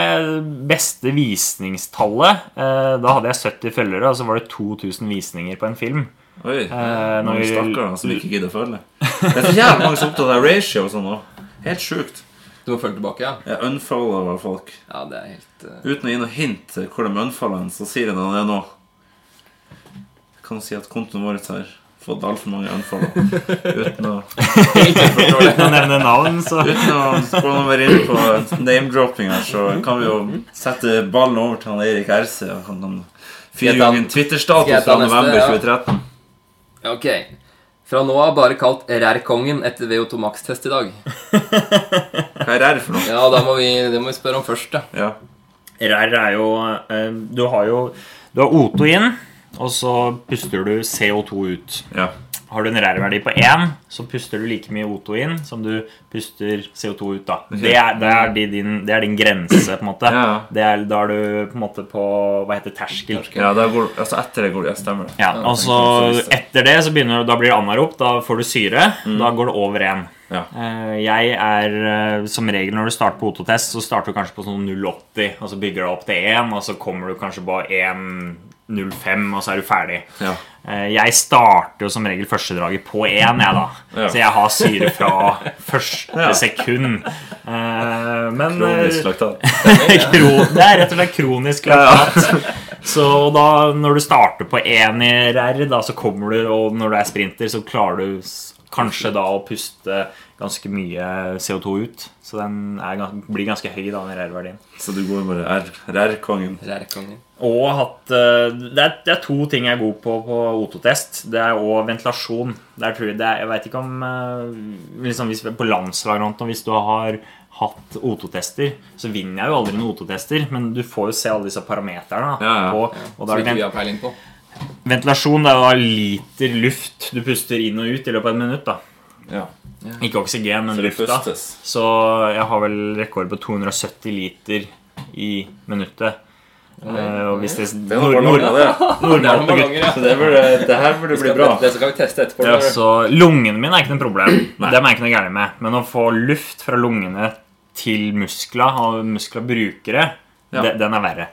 Speaker 6: beste visningstallet. Eh, Da hadde jeg 70 følgere, og så var det 2000 visninger på en film.
Speaker 4: Oi.
Speaker 6: Eh, når
Speaker 4: Noen
Speaker 6: vi-
Speaker 4: stakkare da, altså, som ikke gidder å følge. Det er så jævlig mange som er opptatt av ratio og sånn òg. Helt sjukt.
Speaker 5: Du må følge tilbake, ja?
Speaker 4: Jeg unfollower folk.
Speaker 5: Ja, det er helt eh,
Speaker 4: Uten å gi noe hint til hvor de unfollower en, så sier de det nå. Jeg kan si at kontoen vår har fått altfor mange unfollow. Uten å
Speaker 6: Uten å nevne navn, så
Speaker 4: Uten å spåne over inn på name-dropping her, så kan vi jo sette ballen over til han Erik RC. Og han kan fyre i gang
Speaker 5: Skal
Speaker 4: en
Speaker 5: jeg ta
Speaker 4: Twitter-status fra
Speaker 5: neste,
Speaker 4: november
Speaker 5: ja?
Speaker 4: 2013.
Speaker 5: Ok. Fra nå av bare kalt RR-kongen etter VO2 Max-test i dag.
Speaker 4: Hva er R for noe?
Speaker 5: Ja, da må vi, det må vi spørre om først, da.
Speaker 4: Ja.
Speaker 6: RR er jo eh, Du har jo Du har O2 inn, og så puster du CO2 ut.
Speaker 4: ja.
Speaker 6: Har du en RR-verdi på 1, så puster du like mye O2 inn som du puster CO2 ut. da. Det er, det er, de, din, det er din grense, på en måte.
Speaker 4: Ja.
Speaker 6: Det er, da er du på en måte på Hva heter det, terskel?
Speaker 4: ja da går, altså etter det går det. Ja, stemmer det.
Speaker 6: Ja, og så Etter det så begynner du, da blir det anaerob. Da får du syre. Da går det over 1.
Speaker 4: Mm. Ja.
Speaker 6: Eh, Jeg er eh, som regel når du starter på O2-test, så starter du kanskje på sånn 0,80, og så bygger du opp til 1, og så kommer du kanskje på 1,05, og så er du ferdig.
Speaker 4: Ja.
Speaker 6: Eh, Jeg starter jo som regel førstedraget på én, jeg, da.
Speaker 4: Ja.
Speaker 6: Så jeg har syre fra første sekund. Eh, Men
Speaker 4: Kronisk laktat.
Speaker 6: kro, Det er rett og slett kronisk laktat. Så da, når du starter på én i RR, da, så kommer du, og når du er sprinter, så klarer du s- kanskje da å puste ganske mye CO2 ut. Så den er, gans- blir ganske høy, da, den RR-verdien.
Speaker 4: Så du går bare R. RR-kongen.
Speaker 5: RR-kongen.
Speaker 6: Og hatt eh, det er, det er to ting jeg er god på på O2-test. Det er og ventilasjon. Der tror jeg, det er, jeg vet ikke om eh, liksom hvis, På landslag eller noe, hvis du har hatt O2-tester, så vinner jeg jo aldri noen O2-tester, men du får jo se alle disse parameterne. da,
Speaker 4: Ja, ja.
Speaker 6: på- og
Speaker 5: Som
Speaker 6: da er det
Speaker 5: ikke
Speaker 6: vent-
Speaker 5: vi har peiling på.
Speaker 6: Ventilasjon det er da liter luft du puster inn og ut i løpet av et minutt. da.
Speaker 4: Ja.
Speaker 6: Ikke oksygen, men
Speaker 4: Det
Speaker 6: luft. da.
Speaker 4: pustes.
Speaker 6: Så jeg har vel rekord på 270 liter i minuttet. Eh, og hvis det,
Speaker 4: Det er noen ballonger, det.
Speaker 6: normalt på gutt-
Speaker 5: ballonger, ja.
Speaker 4: Så det, burde, det her burde bli bra.
Speaker 5: Det skal vi teste etterpå.
Speaker 6: Ja,
Speaker 5: når-
Speaker 6: så lungene mine er ikke noe problem. Dem er ikke noe gærent med. Men å få luft fra lungene til muskla og muskla brukere,
Speaker 4: Ja.
Speaker 6: de- den er verre.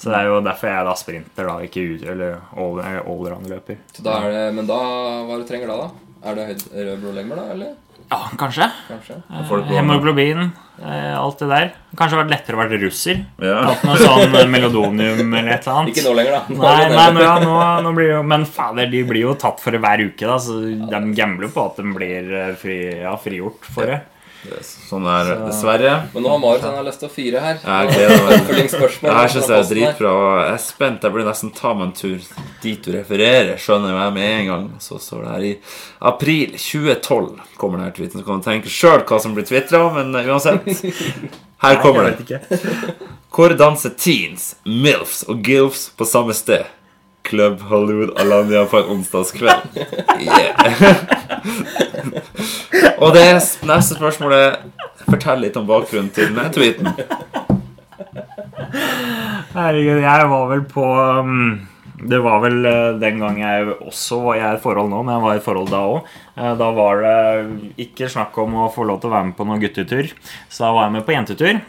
Speaker 6: Så det er jo derfor jeg er da sprinter, da, ikke ut- eller all- allround-løper.
Speaker 5: Så da er det, men da, hva du trenger da, da? Er det høyd- rød blodlegemer, da? Eller
Speaker 6: Ja, kanskje.
Speaker 5: kanskje?
Speaker 4: Folk går-
Speaker 6: Hemoglobin, eh, alt det der. Kanskje vært lettere å være russer.
Speaker 4: Ja.
Speaker 6: Hatt noe sånn eh, melodonium eller et eller annet.
Speaker 5: Ikke nå lenger, da.
Speaker 6: Nei, nei, nå, ja, nå, nå blir det jo Men fader, de blir jo tatt for det hver uke, da, så de gambler på at de blir eh, fri, ja, frigjort for det.
Speaker 4: Sånn er det. Dessverre.
Speaker 5: Men nå har Marius han har lyst til å fyre her.
Speaker 4: Jeg gleder meg.
Speaker 5: Oppfølgingsspørsmål.
Speaker 4: Det her synes jeg er
Speaker 5: fra posten her.
Speaker 4: dritbra. og Jeg er spent. Jeg burde nesten ta meg en tur dit du refererer, skjønner jo jeg med en gang. Så står det her i april 2012 kommer denne tweeten. Så kan du tenke sjøl hva som blir tvitra, men eh, uansett. Her kommer det.
Speaker 6: Jeg vet ikke.
Speaker 4: Hvor danser teens, milfs og gilfs på samme sted? Club Hollywood Alanya på en onsdagskveld. Yeah. og det neste spørsmålet Fortell litt om bakgrunnen til denne tweeten.
Speaker 6: Herregud, jeg var vel på um, Det var vel eh, den gang jeg også var Jeg er i et forhold nå, men jeg var i et forhold da òg. Da var det ikke snakk om å få lov til å være med på noen guttetur, så da var jeg med på jentetur.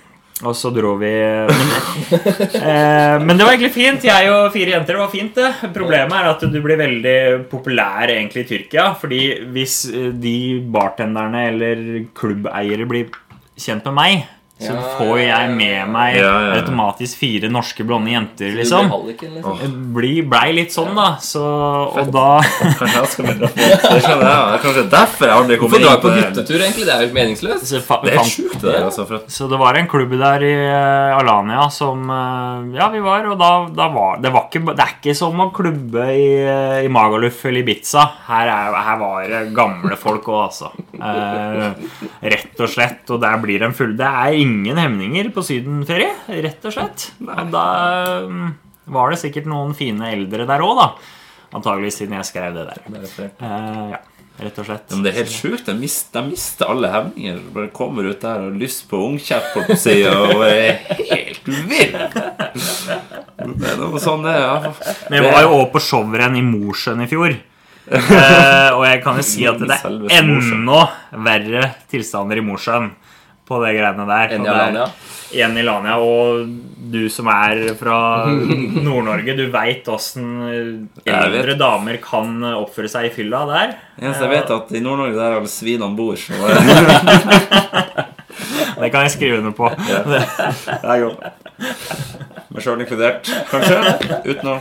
Speaker 6: Og så dro vi Eh, Men det var egentlig fint. Jeg og fire jenter, det var fint, det. Problemet er at du blir veldig populær egentlig i Tyrkia. Fordi hvis eh, de bartenderne eller klubbeiere blir kjent med meg, så får jeg med meg
Speaker 4: Ja, ja, ja.
Speaker 6: automatisk fire norske blonde
Speaker 5: Du
Speaker 6: jenter,
Speaker 5: blir
Speaker 6: liksom.
Speaker 5: halliken, liksom.
Speaker 6: Bli, blei litt sånn, da. Så, og da
Speaker 4: Kanskje jeg skal begynne å Det skjønner jeg. Det er kanskje derfor jeg aldri
Speaker 5: Hvorfor
Speaker 4: kommer
Speaker 5: dra
Speaker 4: inn
Speaker 5: på
Speaker 4: på det.
Speaker 5: guttetur, egentlig? Det er jo helt meningsløst.
Speaker 6: så fa
Speaker 4: Det er
Speaker 6: fant
Speaker 4: sjukt, det der. Altså, for at
Speaker 6: Så det var en klubb der i eh, Alanya som eh, Ja, vi var, og da, da var det, var ikke, det er ikke som å klubbe i, eh, i Magaluf eller Ibiza. Her, er, her var det gamle folk òg, altså. Eh, rett og slett. Og der blir en full Det er ingen hemninger på sydenferie, rett og slett. Og da eh, var det sikkert noen fine eldre der òg, da. Antageligvis siden jeg skrev det der. Eh, ja, rett og slett.
Speaker 4: Ja, Men det er helt sjukt. De mister, de mister alle hemninger. Bare kommer ut der og har lyst på ungkjepp holdt på å si, og er helt vill. Det er noe sånn det er. ja.
Speaker 6: Men jeg var jo også på showrenn i Mosjøen i fjor. Eh, og jeg kan jo si at det
Speaker 4: Selveste
Speaker 6: er
Speaker 4: Mosjøen.
Speaker 6: enda verre tilstander i Mosjøen på de greiene der.
Speaker 5: Enn i
Speaker 6: Og det er-
Speaker 5: Alanya.
Speaker 6: Enn i Lania. Og du som er fra Nord-Norge, du veit åssen
Speaker 4: Jeg vet.
Speaker 6: eldre damer kan oppføre seg i fylla der.
Speaker 4: Eneste jeg vet, er at i Nord-Norge der er alle svinene bor. Så det
Speaker 6: Det kan jeg skrive under på.
Speaker 4: er jo Meg sjøl inkludert, kanskje. Uten å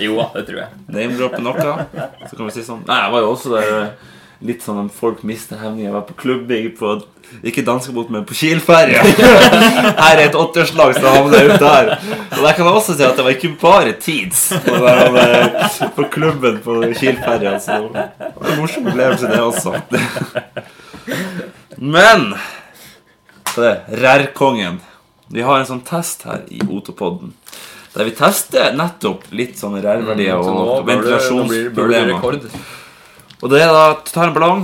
Speaker 5: Jo da, det tror jeg.
Speaker 4: name-droppe noe. Så kan vi si sånn Nei, jeg var jo også der eh, litt sånn at folk mister hemninger. Jeg var på klubbing på Ikke danskebåt, men på Kielferja. Her er et åtterslag, så havner jeg ut der. Og der kan jeg også si at det var ikke bare tids på, den, eh, på klubben på Kielferja. Så det var en morsom opplevelse, det også. Men så det, Rærkongen. Vi har en sånn test her i Otopodden. Der vi tester nettopp litt sånne rærverdier
Speaker 5: Mm, Så nå
Speaker 4: og
Speaker 5: bør det, nå blir, bør det bli
Speaker 4: ventilasjonsproblemer.
Speaker 5: rekord.
Speaker 4: Og det er da, du tar en ballong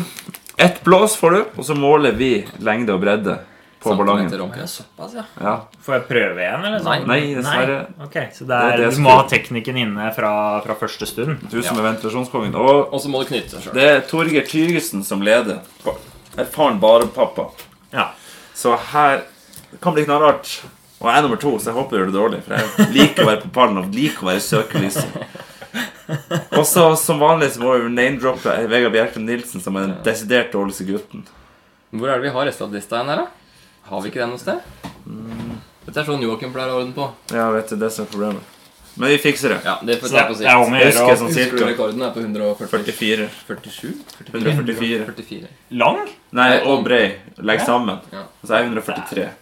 Speaker 4: Ett blås får du, og så måler vi lengde og bredde På ballongen
Speaker 5: Centimeter omkrets. Såpass, ja.
Speaker 4: ja.
Speaker 6: Får jeg prøve igjen, eller? sånn?
Speaker 4: Nei, dessverre
Speaker 6: Ok, Så det
Speaker 4: Det er
Speaker 6: er,
Speaker 4: det jeg
Speaker 6: du må ha
Speaker 4: skulle-
Speaker 6: teknikken inne fra, fra første stund.
Speaker 4: Du som er ventilasjonskongen Og
Speaker 5: Og så må du knytte deg sjøl.
Speaker 4: det er Torgeir Tyrgesen som leder Ba- Erfaren bare pappa
Speaker 6: Ja.
Speaker 4: Så her det kan bli knallhardt Og jeg er nummer to, så jeg håper jeg gjør det dårlig For jeg liker å være på pallen og liker å være i søkelyset Og så som vanlig så må vi name-droppe Vegard Bjerke Nilsen som er den desidert dårligste gutten
Speaker 5: Hvor er det vi har resten av lista igjen her, da? Har vi ikke den noe sted? Dette er sånn Joakim pleier å ha orden på.
Speaker 4: Ja, vet du, det som er problemet Men vi fikser det
Speaker 5: Ja, det får
Speaker 6: Så
Speaker 5: vi ta på
Speaker 6: det er om
Speaker 5: sikt.
Speaker 6: å
Speaker 4: Jeg
Speaker 6: gjøre
Speaker 4: husker
Speaker 6: å
Speaker 4: sånn
Speaker 5: Husker du
Speaker 4: cirka
Speaker 5: rekorden er på 147?
Speaker 4: 44 144
Speaker 5: 44.
Speaker 6: Lang?
Speaker 4: Nei, og brei. Legg sammen.
Speaker 5: Ja.
Speaker 4: Og så er jeg 143.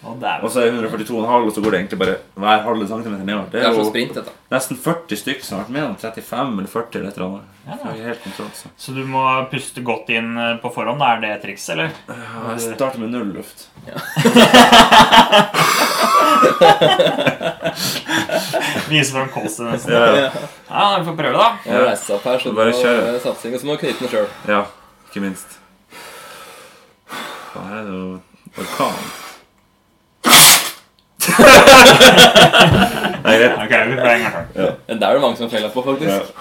Speaker 6: Å, dæven.
Speaker 4: Og så er jeg 142,5, og så går det egentlig bare hver halve centimeter nedover.
Speaker 5: Det
Speaker 4: Det er
Speaker 5: er som
Speaker 4: jo
Speaker 5: sprint, dette.
Speaker 4: nesten 40 stykker som har vært med. om 35 eller 40 eller et eller annet. Så jeg er helt kontroll, så.
Speaker 6: Så du må puste godt inn eh, på forhånd? da? Er det trikset, eller?
Speaker 4: Ja, jeg starter med null luft.
Speaker 6: Vise fram kolsen nesten.
Speaker 4: Ja, ja.
Speaker 6: Ja, vi får prøve, da.
Speaker 5: Jeg har reist opp her, så
Speaker 4: Bare
Speaker 5: du må
Speaker 4: kjør.
Speaker 5: eh, satsing. Og så må du knyte den sjøl.
Speaker 4: ja ikke minst. Faen, her er det jo orkan. Nei, greit.
Speaker 6: Ok, vi prøver en gang til.
Speaker 5: Den der er det mange som feller på, faktisk.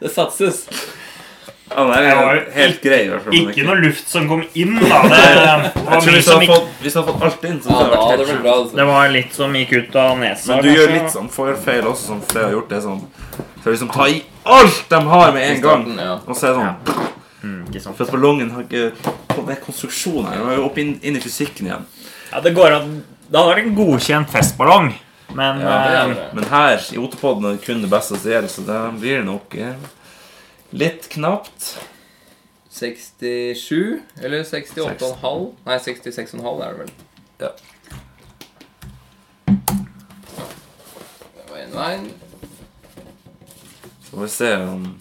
Speaker 5: Det satses.
Speaker 4: Ja, den er
Speaker 6: Jeg var jo
Speaker 4: helt grei, i hvert fall. men
Speaker 6: Ikke noe liksom- luft som kom inn, da. Det
Speaker 4: Jeg
Speaker 6: var,
Speaker 4: tror
Speaker 6: mye
Speaker 4: Hvis jeg
Speaker 6: som
Speaker 4: hadde
Speaker 6: gikk,
Speaker 4: fått, hvis jeg hadde fått alt inn, så
Speaker 5: Ja, da
Speaker 4: hadde det vært
Speaker 5: hadde det
Speaker 4: helt
Speaker 5: vært
Speaker 4: sjukt.
Speaker 5: bra. altså.
Speaker 6: det var litt som gikk ut av nesa.
Speaker 4: Men du gjør
Speaker 6: kanskje.
Speaker 4: litt sånn forfeil også, som flere har gjort. Det er sånn Så liksom ta i alt de har med en gang.
Speaker 5: Ja.
Speaker 4: Og så er det sånn
Speaker 6: Ikke sant.
Speaker 5: sånn.
Speaker 4: For at ballongen har ikke Det er konstruksjon her. Den er jo opp inn, inn i fysikken igjen.
Speaker 6: Ja, det går an. Da var det en godkjent festballong. Men
Speaker 5: Ja,
Speaker 6: eh,
Speaker 5: det er det.
Speaker 4: Men her i Otepodden er det kun det beste som gjelder, så det blir nok eh, litt knapt.
Speaker 5: 67 eller 68,5? Nei, 66,5 er det vel.
Speaker 4: Ja.
Speaker 5: Det var en vei.
Speaker 4: Så får vi se om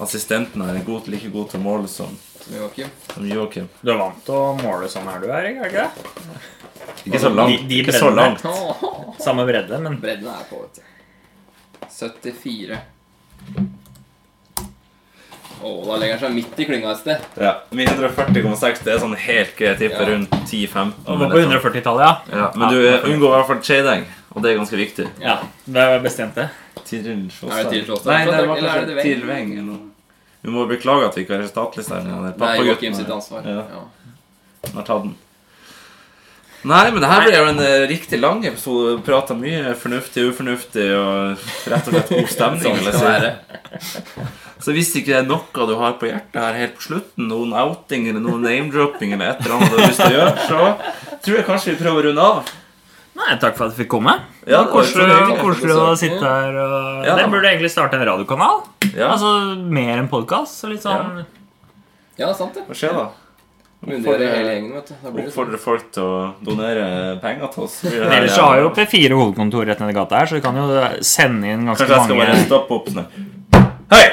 Speaker 4: assistenten her er god, like god til å måle som,
Speaker 5: Som Joakim.
Speaker 4: som Joakim.
Speaker 6: du er vant til å måle sånn her du er, ikke sant?
Speaker 4: Ikke så langt.
Speaker 6: De- de
Speaker 4: Ikke så langt.
Speaker 6: brennende.
Speaker 5: Åh,
Speaker 6: Samme bredde, men
Speaker 5: Bredden er på, vet du. 74. Å, da legger han seg midt i klynga et sted.
Speaker 4: Ja. 140,6 det er sånn helt greit tippe
Speaker 5: Ja.
Speaker 4: rundt 10-15.
Speaker 6: Det
Speaker 4: eller
Speaker 6: var på
Speaker 4: noe.
Speaker 5: sånn.
Speaker 6: 140-tallet, ja.
Speaker 4: Ja, men du eh, unngår i hvert fall shading, og det er ganske viktig.
Speaker 6: ja. Det var bestemt, det.
Speaker 4: Tiril
Speaker 5: Er det Tiril Sjåstad?
Speaker 4: Nei, det var
Speaker 5: Eller er det
Speaker 4: kanskje
Speaker 5: Veng?
Speaker 4: Tiril Veng. eller noe. Vi må beklage at vi ikke har resultatliste her. men det er
Speaker 5: Det er
Speaker 4: pappagutten
Speaker 5: Joakim sitt
Speaker 4: her.
Speaker 5: ansvar.
Speaker 4: Ja,
Speaker 5: Ja.
Speaker 4: han har tatt den. Nei, men det her ble jo en eh, riktig lang episode. Prata mye fornuftig, ufornuftig og rett og slett god stemning.
Speaker 5: Sånn
Speaker 4: vil
Speaker 5: skal
Speaker 4: jeg
Speaker 5: det
Speaker 4: si.
Speaker 5: være.
Speaker 4: Så hvis ikke det er noe du har på hjertet her helt på slutten, noen outing eller noen name-dropping eller et eller annet du har lyst til å gjøre, så tror jeg kanskje vi prøver å runde av.
Speaker 6: Nei, takk for at vi fikk komme.
Speaker 4: Ja,
Speaker 6: Det var koselig
Speaker 4: det var veldig
Speaker 6: koselig å sitte her. Og...
Speaker 4: Ja.
Speaker 6: Det burde egentlig starte en radiokanal.
Speaker 4: Ja,
Speaker 6: Altså mer enn podkast. Litt sånn
Speaker 5: Ja, sant det.
Speaker 4: hva skjer da?
Speaker 5: Myndiggjøre hele gjengen, vet du. Da blir det sånn.
Speaker 4: Oppfordrer folk til å donere penger til oss.
Speaker 6: Men Ellers så har
Speaker 4: eh,
Speaker 6: jo P4 hovedkontor rett nedi gata her, så vi kan jo sende inn ganske
Speaker 4: Kanskje jeg skal bare
Speaker 6: mange
Speaker 4: stoppe opp sånn Hei!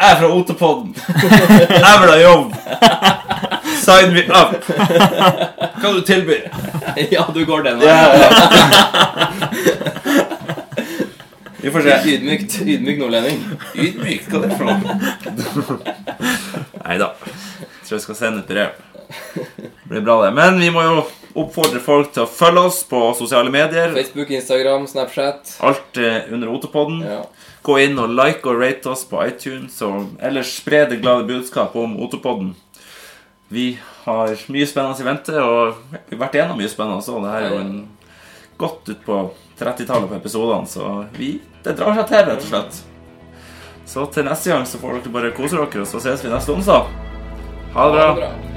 Speaker 4: Jeg er fra Otepodden. Jeg vil ha jobb. Sign me up. Hva du tilbyr?
Speaker 5: sånn. Ja, du går den veien.
Speaker 4: Ja, ja. Vi får se.
Speaker 5: Ydmykt. Ydmyk nordlending.
Speaker 4: Ydmyk, hva er det for noe? Nei da. Tror jeg skal sende et brev. Det blir bra, det. Men vi må jo oppfordre folk til å følge oss på sosiale medier.
Speaker 5: Facebook, Instagram, Snapchat.
Speaker 4: Alt eh, under Otepodden.
Speaker 5: Ja.
Speaker 4: Gå inn og like og rate oss på iTunes, og ellers spre det glade budskapet om Otepodden. Vi har mye spennende i vente, og vi har vært gjennom mye spennende også. Det her er jo en godt ut på 30-tallet på episodene, så vi, det drar seg til, rett og slett. Så til neste gang så får dere bare kose dere, og så ses vi neste onsdag. Ha det bra.
Speaker 5: Bra.